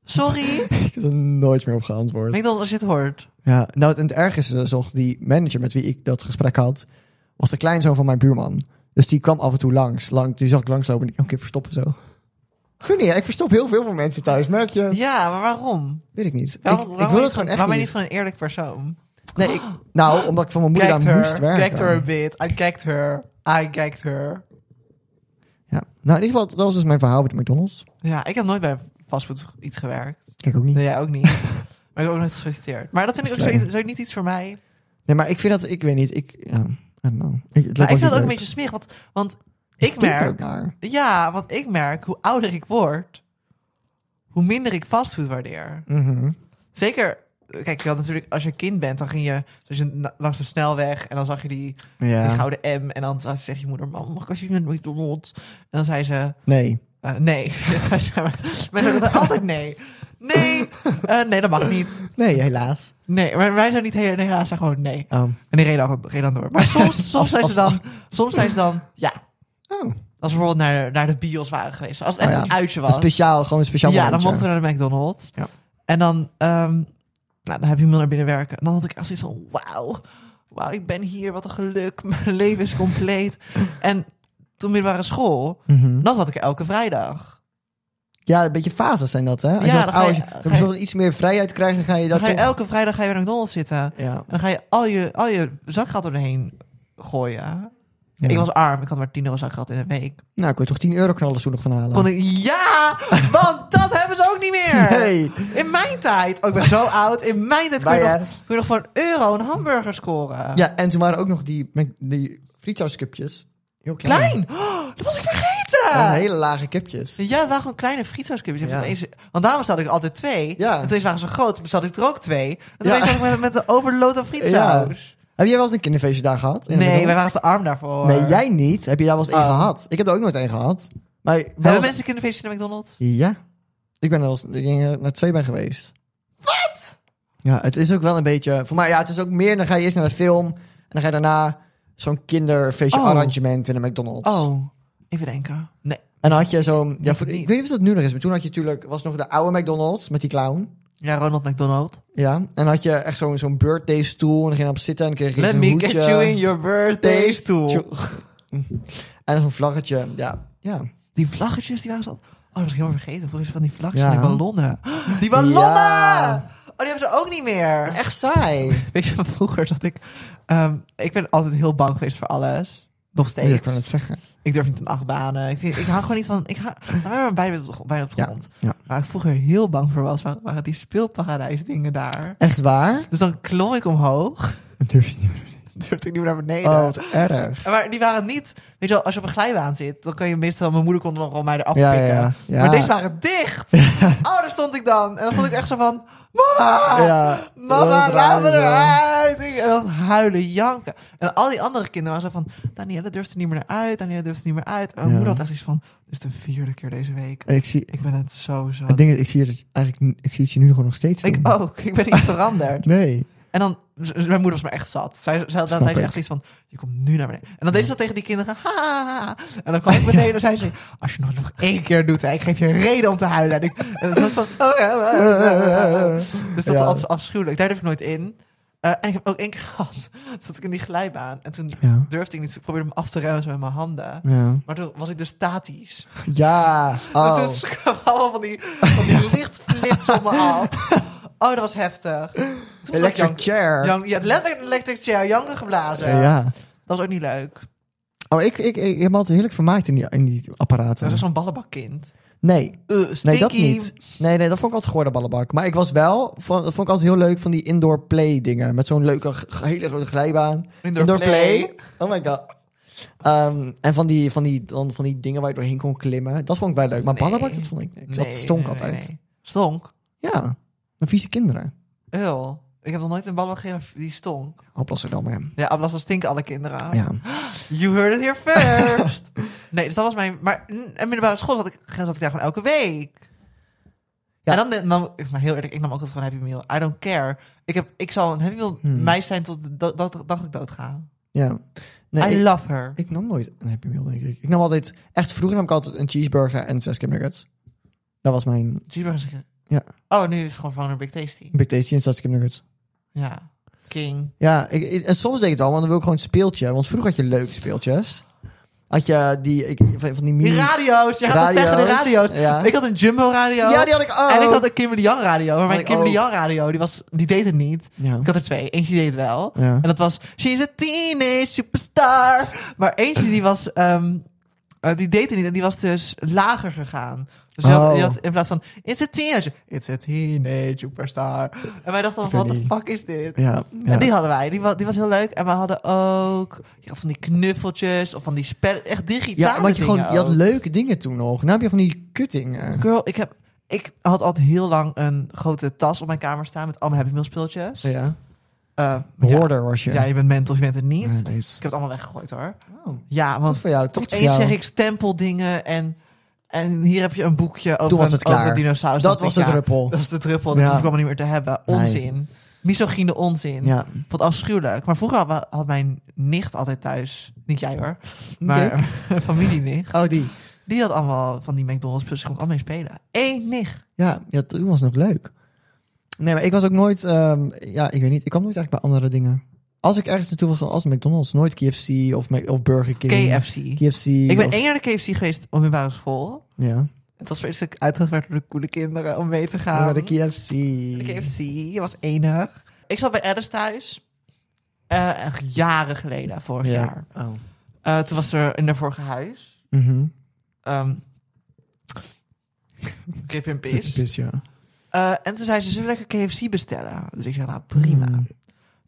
[SPEAKER 2] Sorry,
[SPEAKER 1] Ik heb er nooit meer op geantwoord.
[SPEAKER 2] McDonald's als je het hoort.
[SPEAKER 1] Ja, nou, het, en het erg is dus nog, die manager met wie ik dat gesprek had, was de kleinzoon van mijn buurman. Dus die kwam af en toe langs. lang die zag ik langslopen en ik, oké, verstoppen zo. Funny, hè? ik verstop heel veel voor mensen thuis, merk je? het?
[SPEAKER 2] Ja, maar waarom?
[SPEAKER 1] Weet ik niet.
[SPEAKER 2] Waarom,
[SPEAKER 1] ik, ik
[SPEAKER 2] waarom
[SPEAKER 1] wil
[SPEAKER 2] niet
[SPEAKER 1] het gewoon echt
[SPEAKER 2] Waarom ben
[SPEAKER 1] niet.
[SPEAKER 2] je niet gewoon een eerlijk persoon?
[SPEAKER 1] Nee, ik, nou, omdat ik van mijn moeder
[SPEAKER 2] Gagged
[SPEAKER 1] daar moest
[SPEAKER 2] her, gagged her a
[SPEAKER 1] werken.
[SPEAKER 2] bit. I gagged her. I gagged her.
[SPEAKER 1] Ja. Nou, in ieder geval, dat was dus mijn verhaal met de McDonald's.
[SPEAKER 2] Ja, ik heb nooit bij fastfood iets gewerkt.
[SPEAKER 1] Kijk ook niet.
[SPEAKER 2] Nee,
[SPEAKER 1] Nee.
[SPEAKER 2] jij ook niet. maar ik heb ook nooit gesolliciteerd. Maar dat vind ik ook
[SPEAKER 1] Slim.
[SPEAKER 2] zo, zo niet iets voor mij.
[SPEAKER 1] maar ik vind dat, ik weet niet, ik, ja, I don't know. Ik, het
[SPEAKER 2] Maar ik
[SPEAKER 1] lijkt me
[SPEAKER 2] vind dat ook
[SPEAKER 1] leuk.
[SPEAKER 2] een beetje smerig, want, want
[SPEAKER 1] Het
[SPEAKER 2] ik
[SPEAKER 1] stinkt
[SPEAKER 2] merk...
[SPEAKER 1] ook naar.
[SPEAKER 2] Ja, want ik merk, hoe ouder ik word, hoe minder ik fastfood waardeer.
[SPEAKER 1] Mhm.
[SPEAKER 2] Zeker Kijk, je had natuurlijk, als je een kind bent, dan ging je, dus je na- langs de snelweg en dan zag je die, die
[SPEAKER 1] Ja.
[SPEAKER 2] gouden M. En dan zag- zegt je moeder: Mam, mag ik alsjeblieft naar McDonald's? En dan zei ze:
[SPEAKER 1] Nee.
[SPEAKER 2] eh, Nee. Wij zeiden altijd nee. Nee, Eh, nee, dat mag niet.
[SPEAKER 1] Nee, helaas.
[SPEAKER 2] Nee, maar wij zijn niet heel, nee, ja, ze gewoon nee.
[SPEAKER 1] Oh.
[SPEAKER 2] En die reden dan, reden dan door. Maar soms, soms, zijn ze dan, soms zijn ze dan, ja.
[SPEAKER 1] Oh.
[SPEAKER 2] Als we bijvoorbeeld naar, naar de bios waren geweest. Als het
[SPEAKER 1] Oh
[SPEAKER 2] echt
[SPEAKER 1] ja.
[SPEAKER 2] een uitje
[SPEAKER 1] Een
[SPEAKER 2] was.
[SPEAKER 1] speciaal, gewoon een speciaal
[SPEAKER 2] ja, dan
[SPEAKER 1] momentje.
[SPEAKER 2] mochten we naar de McDonald's.
[SPEAKER 1] Ja.
[SPEAKER 2] En dan, ehm, nou, dan heb je Mil naar binnen werken. En dan had ik echt zoiets van, wauw. Wauw, ik ben hier. Wat een geluk. Mijn leven is compleet. en toen middelbare school,
[SPEAKER 1] Mhm.
[SPEAKER 2] dan zat ik er elke vrijdag.
[SPEAKER 1] Ja, een beetje fases zijn dat, hè? Als
[SPEAKER 2] Ja,
[SPEAKER 1] je,
[SPEAKER 2] dan
[SPEAKER 1] wat
[SPEAKER 2] ga je-
[SPEAKER 1] ouder-
[SPEAKER 2] ga
[SPEAKER 1] dan
[SPEAKER 2] je-
[SPEAKER 1] bijvoorbeeld iets meer vrijheid krijgt, dan ga je
[SPEAKER 2] Dan
[SPEAKER 1] dat
[SPEAKER 2] ga je
[SPEAKER 1] toch...
[SPEAKER 2] elke vrijdag ga je bij McDonald's zitten.
[SPEAKER 1] Ja.
[SPEAKER 2] En dan ga je al je, al je zakgeld erheen gooien.
[SPEAKER 1] Ja.
[SPEAKER 2] Ik was arm. Ik had maar 10 euro zakgeld in een week.
[SPEAKER 1] Nou, kun je toch 10 euro knallen toen nog van halen?
[SPEAKER 2] Kon ik, ja, want dat hebben ze ook niet meer.
[SPEAKER 1] Nee.
[SPEAKER 2] In mijn tijd, oh, ik ben zo oud, in mijn tijd kon je,
[SPEAKER 1] Wij,
[SPEAKER 2] nog, kon je nog voor een euro een hamburger scoren.
[SPEAKER 1] Ja, en toen waren ook nog die, Mc- die frietsauscupjes. Heel klein.
[SPEAKER 2] Klein. Oh, dat was ik
[SPEAKER 1] Ja,
[SPEAKER 2] vergeten.
[SPEAKER 1] hele lage cupjes.
[SPEAKER 2] Ja, dat waren gewoon kleine frietsauscupjes.
[SPEAKER 1] Oh, Ja.
[SPEAKER 2] Want daarom bestelde ik altijd twee.
[SPEAKER 1] Ja.
[SPEAKER 2] En toen eens waren ze groot, toen bestelde ik er ook twee. En toen
[SPEAKER 1] Ja.
[SPEAKER 2] eens zat ik met, met de overload aan frietsaus.
[SPEAKER 1] Heb jij wel eens een kinderfeestje daar gehad? In
[SPEAKER 2] Nee,
[SPEAKER 1] Nederland?
[SPEAKER 2] wij waren te arm daarvoor.
[SPEAKER 1] Nee, jij niet. Heb je daar wel eens één
[SPEAKER 2] Oh.
[SPEAKER 1] gehad? Ik heb daar ook nooit één gehad. Maar wij
[SPEAKER 2] Hebben
[SPEAKER 1] was-
[SPEAKER 2] mensen kinderfeestjes in de McDonald's?
[SPEAKER 1] Ja. Ik ben er als ik denk, eh, naar twee ben geweest. Wat? Ja, het is ook wel een beetje... Voor mij, ja, het is ook meer... Dan ga je eerst naar de film... En dan ga je daarna zo'n kinderfeestje
[SPEAKER 2] Oh.
[SPEAKER 1] arrangement in de McDonald's.
[SPEAKER 2] Oh, even denken. Nee.
[SPEAKER 1] En dan had je zo'n... Ja, voor-
[SPEAKER 2] niet.
[SPEAKER 1] ik weet niet of dat nu nog is, maar toen had je natuurlijk... Was nog de oude McDonald's met die clown.
[SPEAKER 2] Ja, Ronald McDonald.
[SPEAKER 1] Ja. En dan had je echt zo'n zo'n birthday stoel. En dan ging je op zitten en dan kreeg je
[SPEAKER 2] Let
[SPEAKER 1] zo'n
[SPEAKER 2] me
[SPEAKER 1] hoedje.
[SPEAKER 2] get you in your birthday stool.
[SPEAKER 1] En zo'n vlaggetje. Ja. Ja.
[SPEAKER 2] Die vlaggetjes, die waren zo... Oh, dat is helemaal vergeten. Volgens van die vlaggetjes
[SPEAKER 1] Ja.
[SPEAKER 2] en die ballonnen. Die ballonnen!
[SPEAKER 1] Ja.
[SPEAKER 2] Oh, die hebben ze ook niet meer.
[SPEAKER 1] Echt saai.
[SPEAKER 2] Weet je, vroeger zat ik... ehm, ik ben altijd heel bang geweest voor alles. Nog steeds.
[SPEAKER 1] Ja, ik
[SPEAKER 2] ik,
[SPEAKER 1] kan het zeggen.
[SPEAKER 2] durf niet aan achtbanen. Ik, vind- ik hou gewoon niet van... Ik hou, nou, we waren bijna op de, gr- bijna op de
[SPEAKER 1] Ja,
[SPEAKER 2] grond.
[SPEAKER 1] ja.
[SPEAKER 2] Waar ik vroeger heel bang voor was, waren, waren die speelparadijsdingen daar.
[SPEAKER 1] Echt waar?
[SPEAKER 2] Dus dan klom ik omhoog.
[SPEAKER 1] Durf je niet
[SPEAKER 2] durfde ik niet meer naar beneden.
[SPEAKER 1] Oh, wat erg.
[SPEAKER 2] Maar die waren niet... Weet je wel, als je op een glijbaan zit... dan kan je meestal... Mijn moeder kon er nog wel mij eraf
[SPEAKER 1] Ja,
[SPEAKER 2] pikken.
[SPEAKER 1] ja, ja.
[SPEAKER 2] Maar deze waren dicht. Oh, daar stond ik dan. En dan stond ik echt zo van... Mama!
[SPEAKER 1] Ja.
[SPEAKER 2] Ah, Mama,
[SPEAKER 1] dat
[SPEAKER 2] laat me
[SPEAKER 1] raar is, ja.
[SPEAKER 2] eruit! Ik- En dan huilen, janken. En al die andere kinderen waren zo van... Danielle durft er niet meer naar uit. Danielle durft er niet meer uit. En mijn
[SPEAKER 1] Ja.
[SPEAKER 2] moeder had echt iets van... Dit is de vierde keer deze week.
[SPEAKER 1] Ik zie,
[SPEAKER 2] Ik ben het zo zo.
[SPEAKER 1] ik, denk, dat ik zie het eigenlijk, niet- ik zie het je nu gewoon nog steeds
[SPEAKER 2] Ik
[SPEAKER 1] doen.
[SPEAKER 2] ook. Ik ben niet veranderd.
[SPEAKER 1] Nee.
[SPEAKER 2] En dan... z- Mijn moeder was me echt zat. Zij, zij had
[SPEAKER 1] Snap
[SPEAKER 2] altijd
[SPEAKER 1] ik.
[SPEAKER 2] echt iets van... Je komt nu naar beneden. En dan deed ze dat tegen die kinderen. Ha, ha, ha, ha. En dan kwam ik beneden en zei ze... Als je nog, nog één keer doet, hè, ik geef je een reden om te huilen. En, ik, en dan zat ik van... Oh, ja, ja, ja, ja, ja. Dus dat
[SPEAKER 1] Ja.
[SPEAKER 2] was altijd afschuwelijk. Daar durf ik nooit in. Eh, en ik heb ook één keer gehad. Toen Zat ik in die glijbaan. En toen
[SPEAKER 1] Ja.
[SPEAKER 2] durfde ik niet. Ik probeerde hem af te remmen zo met mijn handen.
[SPEAKER 1] Ja.
[SPEAKER 2] Maar toen was ik dus statisch.
[SPEAKER 1] Ja. Oh.
[SPEAKER 2] Dus toen kwamen allemaal van die, van die licht flits op me af. Oh, dat was heftig. Toen was ik
[SPEAKER 1] Electric
[SPEAKER 2] jank-
[SPEAKER 1] chair.
[SPEAKER 2] jank- ja, letterlijk electric chair. Janken geblazen.
[SPEAKER 1] ja. ja.
[SPEAKER 2] Dat was ook niet leuk.
[SPEAKER 1] Oh, ik, ik, ik, ik heb me altijd heerlijk vermaakt in die, in die
[SPEAKER 2] Dat was
[SPEAKER 1] apparaten.
[SPEAKER 2] zo'n ballenbakkind.
[SPEAKER 1] Nee.
[SPEAKER 2] Eh,
[SPEAKER 1] Nee,
[SPEAKER 2] stinky.
[SPEAKER 1] dat niet. Nee, nee, dat vond ik altijd gehoorde ballenbak. Maar ik was wel, van, dat vond ik altijd heel leuk van die indoor play dingen. Met zo'n leuke, g- hele grote glijbaan.
[SPEAKER 2] Indoor
[SPEAKER 1] Oh my god. Ehm, en van die, van, die, dan, van die dingen waar je doorheen kon klimmen. Dat vond ik wel leuk. Maar
[SPEAKER 2] Nee.
[SPEAKER 1] ballenbak, dat vond ik niks.
[SPEAKER 2] Nee,
[SPEAKER 1] dat stonk
[SPEAKER 2] nee, nee,
[SPEAKER 1] altijd.
[SPEAKER 2] nee. Stonk?
[SPEAKER 1] Ja, een vieze kinderen.
[SPEAKER 2] Ew. Ik heb nog nooit een ballenbak gehad die stonk.
[SPEAKER 1] Appelsaardam, ja.
[SPEAKER 2] Ja, Ablas, dan stinken alle kinderen.
[SPEAKER 1] Ja.
[SPEAKER 2] You heard it here first. nee, dus dat was mijn... Maar in in middelbare school zat ik, zat ik daar gewoon elke week.
[SPEAKER 1] Ja.
[SPEAKER 2] En dan, nam ik- maar heel eerlijk, ik nam ook altijd van Happy Meal. I don't care. Ik, heb, ik zal een Happy Meal
[SPEAKER 1] Hmm.
[SPEAKER 2] meisje zijn tot de dat dat dag ik doodga.
[SPEAKER 1] ja. Nee,
[SPEAKER 2] I
[SPEAKER 1] ik,
[SPEAKER 2] love her.
[SPEAKER 1] ik nam nooit een Happy Meal, denk ik. Ik nam altijd, echt vroeger nam ik altijd een cheeseburger en zes kipnuggets. Dat was mijn
[SPEAKER 2] Cheeseburger zeggen.
[SPEAKER 1] Ja.
[SPEAKER 2] Oh, nu is het gewoon van een Big Tasty.
[SPEAKER 1] Big Tasty en zes kipnuggets.
[SPEAKER 2] Ja. King.
[SPEAKER 1] Ja, ik, ik- en soms deed ik het al, want dan wil ik gewoon een speeltje. Want vroeger had je leuke speeltjes. Had je die, ik, van van die mini...
[SPEAKER 2] Die radio's. Je gaat
[SPEAKER 1] radio's.
[SPEAKER 2] het zeggen, de radio's.
[SPEAKER 1] Ja.
[SPEAKER 2] Ik had een Jumbo radio.
[SPEAKER 1] ja, die oh. had ik ook.
[SPEAKER 2] En ik had een Kimberly Jan radio. Maar
[SPEAKER 1] Had
[SPEAKER 2] mijn
[SPEAKER 1] ik
[SPEAKER 2] Kimberly
[SPEAKER 1] ook.
[SPEAKER 2] Jan radio, die, was, die deed het niet.
[SPEAKER 1] Ja.
[SPEAKER 2] Ik had er twee. Eentje deed het wel.
[SPEAKER 1] Ja.
[SPEAKER 2] En dat was She's a teenage superstar. Maar eentje die was... ehm, eh, die deed het niet. En die was dus lager gegaan. Dus je had,
[SPEAKER 1] Oh.
[SPEAKER 2] je had in plaats van... It's a teenage... It's a teenage superstar. En wij dachten
[SPEAKER 1] weet
[SPEAKER 2] van... What the
[SPEAKER 1] niet.
[SPEAKER 2] fuck is dit?
[SPEAKER 1] Ja, ja.
[SPEAKER 2] En die hadden wij. Die was, die was heel leuk. En we hadden ook... Je had van die knuffeltjes. Of van die spellen. Echt digitale
[SPEAKER 1] ja, want je, gewoon,
[SPEAKER 2] dingen
[SPEAKER 1] Nou je had
[SPEAKER 2] ook.
[SPEAKER 1] leuke dingen toen nog. Nu heb je van die eh, kuttingen.
[SPEAKER 2] Girl, ik heb... Ik had altijd heel lang een grote tas op mijn kamer staan met allemaal Happy Meal speeltjes. Ja.
[SPEAKER 1] Ja. Hoorder was je.
[SPEAKER 2] ja, ja, je bent mental of je bent het niet.
[SPEAKER 1] Ja,
[SPEAKER 2] Ik
[SPEAKER 1] nee, het is-
[SPEAKER 2] heb het allemaal weggegooid hoor.
[SPEAKER 1] Oh,
[SPEAKER 2] Ja,
[SPEAKER 1] Wat
[SPEAKER 2] want
[SPEAKER 1] voor jou? Toch voor
[SPEAKER 2] eens
[SPEAKER 1] jou.
[SPEAKER 2] zeg ik stempeldingen en, en hier heb je een boekje over,
[SPEAKER 1] Toen was
[SPEAKER 2] een,
[SPEAKER 1] het
[SPEAKER 2] over
[SPEAKER 1] klaar.
[SPEAKER 2] een dinosaurus.
[SPEAKER 1] dat
[SPEAKER 2] Dan
[SPEAKER 1] was
[SPEAKER 2] denk ik,
[SPEAKER 1] de
[SPEAKER 2] ja,
[SPEAKER 1] druppel.
[SPEAKER 2] Dat is de druppel, dat
[SPEAKER 1] Ja.
[SPEAKER 2] hoef ik allemaal niet meer te hebben.
[SPEAKER 1] Nee.
[SPEAKER 2] Onzin. Misogyne onzin.
[SPEAKER 1] Ja.
[SPEAKER 2] Ik Vond het afschuwelijk. Maar vroeger had, had mijn nicht altijd thuis, niet jij hoor, maar familie nicht.
[SPEAKER 1] Oh, die.
[SPEAKER 2] Die had allemaal van die McDonald's spullen, ze kon ik allemaal mee spelen. Eén nicht.
[SPEAKER 1] Ja, ja, toen was nog leuk. Nee, maar ik was ook nooit... ehm, ja, ik weet niet. Ik kwam nooit eigenlijk bij andere dingen. Als ik ergens naartoe was, dan als McDonald's. Nooit KFC of, Mac- of Burger King.
[SPEAKER 2] KFC.
[SPEAKER 1] KFC.
[SPEAKER 2] Ik ben
[SPEAKER 1] of-
[SPEAKER 2] één jaar naar de KFC geweest op mijn middelbare school.
[SPEAKER 1] Ja.
[SPEAKER 2] Het was vreselijk uitgewerkt door de coole kinderen om mee te gaan.
[SPEAKER 1] Maar de KFC.
[SPEAKER 2] De KFC, je was enig. Ik zat bij Alice thuis. eh, echt jaren geleden, vorig
[SPEAKER 1] Ja.
[SPEAKER 2] jaar.
[SPEAKER 1] Oh.
[SPEAKER 2] Eh, toen was er in haar vorige huis.
[SPEAKER 1] Mhm.
[SPEAKER 2] ehm Kip en pis.
[SPEAKER 1] Dus ja.
[SPEAKER 2] Eh, en toen zei ze, zullen we lekker KFC bestellen? Dus ik zei, nou prima.
[SPEAKER 1] Mm.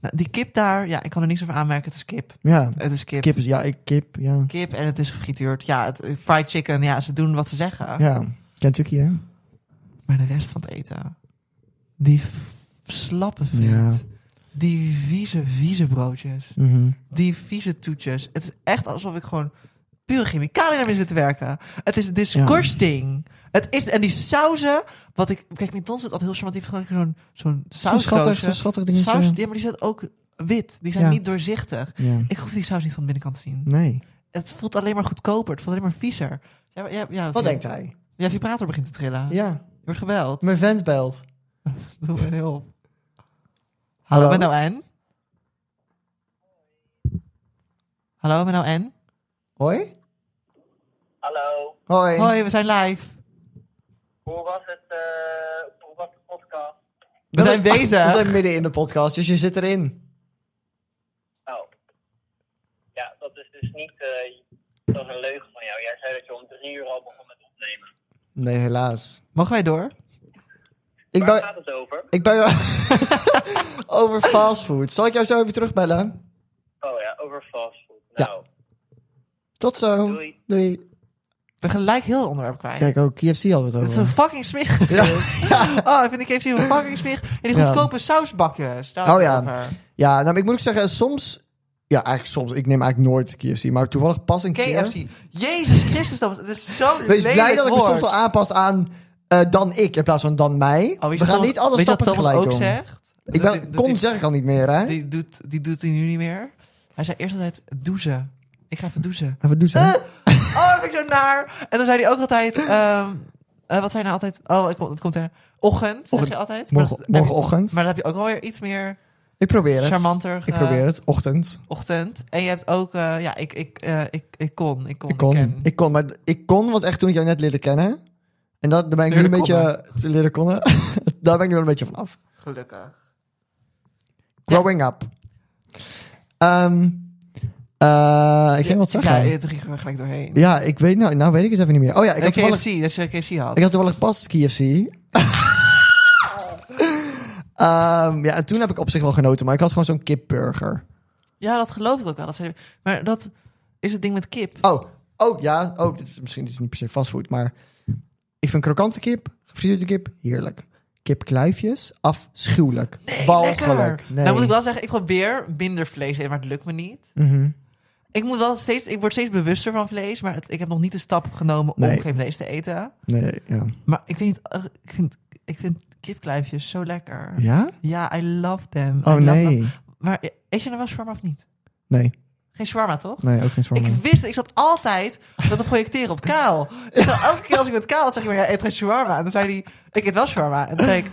[SPEAKER 2] Nou, die kip daar, ja, ik kan er niks over aanmerken. Het is kip.
[SPEAKER 1] Ja.
[SPEAKER 2] Het is kip.
[SPEAKER 1] Kip is... Ja, ik kip. Ja.
[SPEAKER 2] Kip en het is gefrituurd. Ja, het, fried chicken, ja, ze doen wat ze zeggen.
[SPEAKER 1] Ja. Kentucky, hè?
[SPEAKER 2] Maar de rest van het eten. Die f- slappe friet. Die vieze, vieze broodjes.
[SPEAKER 1] Mhm.
[SPEAKER 2] Die vieze toetjes. Het is echt alsof ik gewoon pure chemicaliën naar me zit te werken. Het is disgusting. Het is, en die sauzen, wat ik... Kijk, McDonald's doet altijd heel charmant. Die heeft gewoon zo'n zo'n
[SPEAKER 1] Zo'n schattig,
[SPEAKER 2] sausdoosje.
[SPEAKER 1] zo'n schattig dingetje.
[SPEAKER 2] Saus, ja, maar die zijn ook wit. Die zijn
[SPEAKER 1] Ja.
[SPEAKER 2] niet doorzichtig.
[SPEAKER 1] Ja.
[SPEAKER 2] Ik hoef die saus niet van de binnenkant te zien.
[SPEAKER 1] Nee.
[SPEAKER 2] Het voelt alleen maar goedkoper. Het voelt alleen maar viezer. Ja, maar- ja, ja,
[SPEAKER 1] Wat
[SPEAKER 2] ja,
[SPEAKER 1] denkt hij?
[SPEAKER 2] Ja, vibrator begint te trillen.
[SPEAKER 1] Ja.
[SPEAKER 2] Je wordt gebeld.
[SPEAKER 1] Mijn vent belt.
[SPEAKER 2] Doe me hulp.
[SPEAKER 1] Hallo?
[SPEAKER 2] Hallo, met nou en? Hallo, met nou en?
[SPEAKER 1] Hoi?
[SPEAKER 4] Hallo,
[SPEAKER 1] Hoi.
[SPEAKER 2] Hoi, we zijn live.
[SPEAKER 4] hoe was het? eh, hoe was de podcast?
[SPEAKER 2] We zijn bezig.
[SPEAKER 1] We zijn midden in de podcast, dus je zit erin.
[SPEAKER 4] Nou, ja, dat is dus niet. eh, dat is een leugen van jou. Jij zei dat je om drie uur al begon met opnemen.
[SPEAKER 1] Nee, helaas.
[SPEAKER 2] Mogen wij door?
[SPEAKER 1] Ik
[SPEAKER 4] Waar
[SPEAKER 1] ben,
[SPEAKER 4] gaat het over?
[SPEAKER 1] ik ben over fastfood. Zal ik jou zo even terugbellen?
[SPEAKER 4] Oh ja, over fastfood. Nou,
[SPEAKER 1] Tot zo.
[SPEAKER 4] Doei.
[SPEAKER 2] Ik ben gelijk heel het onderwerp kwijt.
[SPEAKER 1] Kijk, ook KFC hadden we
[SPEAKER 2] Het
[SPEAKER 1] het
[SPEAKER 2] is een
[SPEAKER 1] over.
[SPEAKER 2] fucking smerig.
[SPEAKER 1] Ja.
[SPEAKER 2] Oh, ik vind die KFC een fucking smerig. En die
[SPEAKER 1] Ja.
[SPEAKER 2] goedkope sausbakjes. daar had
[SPEAKER 1] Oh
[SPEAKER 2] ik
[SPEAKER 1] ja.
[SPEAKER 2] het over.
[SPEAKER 1] Ja, nou, ik moet ook zeggen, soms... Ja, eigenlijk soms. Ik neem eigenlijk nooit KFC, maar toevallig pas een keer.
[SPEAKER 2] KFC. Jezus Christus, dat was- het is zo
[SPEAKER 1] Wees blij dat ik me
[SPEAKER 2] het
[SPEAKER 1] soms wel aanpas aan eh, dan ik in plaats van dan mij.
[SPEAKER 2] Oh, weet je
[SPEAKER 1] we
[SPEAKER 2] wat
[SPEAKER 1] gaan
[SPEAKER 2] Thomas-
[SPEAKER 1] niet alle
[SPEAKER 2] weet je wat
[SPEAKER 1] stappen
[SPEAKER 2] Thomas
[SPEAKER 1] tegelijk
[SPEAKER 2] ook
[SPEAKER 1] doen.
[SPEAKER 2] zegt?
[SPEAKER 1] Ik
[SPEAKER 2] Dat
[SPEAKER 1] ben,
[SPEAKER 2] hij- dat
[SPEAKER 1] kon
[SPEAKER 2] hij-
[SPEAKER 1] zeg ik al niet meer, hè?
[SPEAKER 2] Die doet, die doet hij nu niet meer. Hij zei eerst altijd douchen. Ik ga even douchen.
[SPEAKER 1] Even doen ze.
[SPEAKER 2] Eh, oh, dat vind ik zo naar. En dan zei hij ook altijd... ehm, eh, wat zijn nou altijd? Oh, ik, kom- het komt er. Ochtend, zeg
[SPEAKER 1] Ochtend.
[SPEAKER 2] je altijd. Maar
[SPEAKER 1] Morgen,
[SPEAKER 2] dat- eh,
[SPEAKER 1] morgenochtend.
[SPEAKER 2] Maar dan heb je ook wel weer iets meer
[SPEAKER 1] ik probeer het.
[SPEAKER 2] charmanter.
[SPEAKER 1] Ik
[SPEAKER 2] eh,
[SPEAKER 1] probeer het. Ochtend.
[SPEAKER 2] Ochtend. En je hebt ook... eh, ja, ik, ik, eh, ik, ik kon. Ik kon.
[SPEAKER 1] Ik kon.
[SPEAKER 2] ken.
[SPEAKER 1] Ik kon. Maar d- ik kon was echt toen ik jou net leerde kennen. En dat, daar ben ik nu
[SPEAKER 2] Leerde
[SPEAKER 1] een beetje... Te leren konnen. daar ben ik nu wel een beetje van af.
[SPEAKER 2] Gelukkig.
[SPEAKER 1] Growing up. Ehm, eh, ik ging wat zeggen.
[SPEAKER 2] Ja,
[SPEAKER 1] Ja,
[SPEAKER 2] ja, toen ging ik er gelijk doorheen.
[SPEAKER 1] ik weet... Nou, nou weet ik het even niet meer. Oh ja, ik
[SPEAKER 2] en
[SPEAKER 1] had toevallig...
[SPEAKER 2] KFC, dat je KFC had.
[SPEAKER 1] Ik had toevallig pas KFC. Ehm, ja, en toen heb ik op zich wel genoten, maar ik had gewoon zo'n kipburger.
[SPEAKER 2] Ja, dat geloof ik ook wel. Dat zei hij. Maar dat is het ding met kip.
[SPEAKER 1] Oh, ook ja, ook. Dit is, misschien dit is niet per se fastfood, maar ik vind krokante kip, gefrituurde kip, heerlijk. Kipkluifjes, afschuwelijk.
[SPEAKER 2] Nee,
[SPEAKER 1] Walgelijk.
[SPEAKER 2] lekker.
[SPEAKER 1] Nee.
[SPEAKER 2] Nou moet ik wel zeggen, ik probeer minder vlees te eten, maar het lukt me niet.
[SPEAKER 1] Mhm.
[SPEAKER 2] Ik, moet wel steeds, ik word steeds bewuster van vlees, maar het- ik heb nog niet de stap genomen
[SPEAKER 1] Nee.
[SPEAKER 2] om geen vlees te eten.
[SPEAKER 1] Nee, ja.
[SPEAKER 2] Maar ik weet niet, eh, ik vind, ik vind kipkluifjes zo lekker. Ja,
[SPEAKER 1] Ja?
[SPEAKER 2] I love them. I
[SPEAKER 1] Oh
[SPEAKER 2] love
[SPEAKER 1] nee.
[SPEAKER 2] them. Maar eh, eet je nou wel shawarma of niet?
[SPEAKER 1] Nee,
[SPEAKER 2] Geen shawarma, toch?
[SPEAKER 1] nee, ook geen zwanger.
[SPEAKER 2] Ik wist, ik zat altijd dat te projecteren op Kaal. Ik zat elke keer als ik met Kaal had, zeg je maar, ja, eet geen shawarma. En dan zei hij, ik eet wel shawarma. En toen zei ik,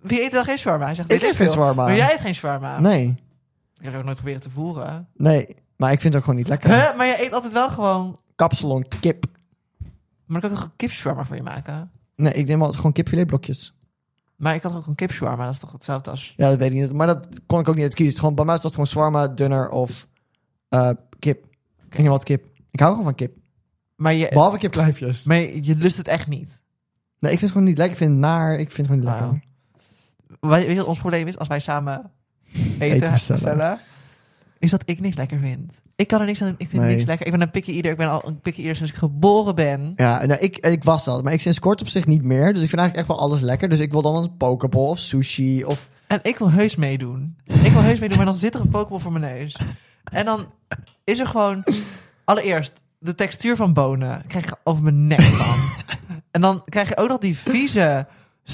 [SPEAKER 2] wie eet wel geen shawarma? Hij zegt,
[SPEAKER 1] Ik
[SPEAKER 2] weet
[SPEAKER 1] eet geen
[SPEAKER 2] veel.
[SPEAKER 1] shawarma.
[SPEAKER 2] Maar jij eet geen shawarma.
[SPEAKER 1] Nee,
[SPEAKER 2] Ik heb ook nooit proberen te voeren.
[SPEAKER 1] nee. Maar ik vind het ook gewoon niet lekker.
[SPEAKER 2] Huh? Maar jij eet altijd wel gewoon...
[SPEAKER 1] Kapsalon kip.
[SPEAKER 2] Maar dan kan ik toch een kipshawarma voor je maken?
[SPEAKER 1] Nee, ik neem altijd gewoon kipfiletblokjes.
[SPEAKER 2] Maar ik had ook een kipshawarma, dat is toch hetzelfde als...
[SPEAKER 1] Ja, dat weet ik niet. Maar dat kon ik ook niet uit kiezen. Gewoon, bij mij is dat gewoon zwarma, dunner of eh, kip. Ik neem wat kip. Ik hou gewoon van kip.
[SPEAKER 2] Maar je,
[SPEAKER 1] Behalve kipkluifjes.
[SPEAKER 2] maar je je lust het echt niet.
[SPEAKER 1] Nee, ik vind het gewoon niet lekker. Ik vind het naar. Ik vind het gewoon niet lekker.
[SPEAKER 2] Wauw. Weet je wat ons probleem is? Als wij samen eten,
[SPEAKER 1] Eten bestellen.
[SPEAKER 2] bestellen, is dat ik niks lekker vind. Ik kan er niks aan doen. Ik vind
[SPEAKER 1] Nee.
[SPEAKER 2] niks lekker. Ik ben een picky eater. Ik ben al een picky eater sinds ik geboren ben.
[SPEAKER 1] Ja, nou, ik, ik was dat. Maar ik sinds kort op zich niet meer. Dus ik vind eigenlijk echt wel alles lekker. Dus ik wil dan een pokeball of sushi of...
[SPEAKER 2] En ik wil heus meedoen. Ik wil heus meedoen, maar dan zit er een Pokémon voor mijn neus. En dan is er gewoon... Allereerst, de textuur van bonen krijg je over mijn nek van. En dan krijg je ook nog die vieze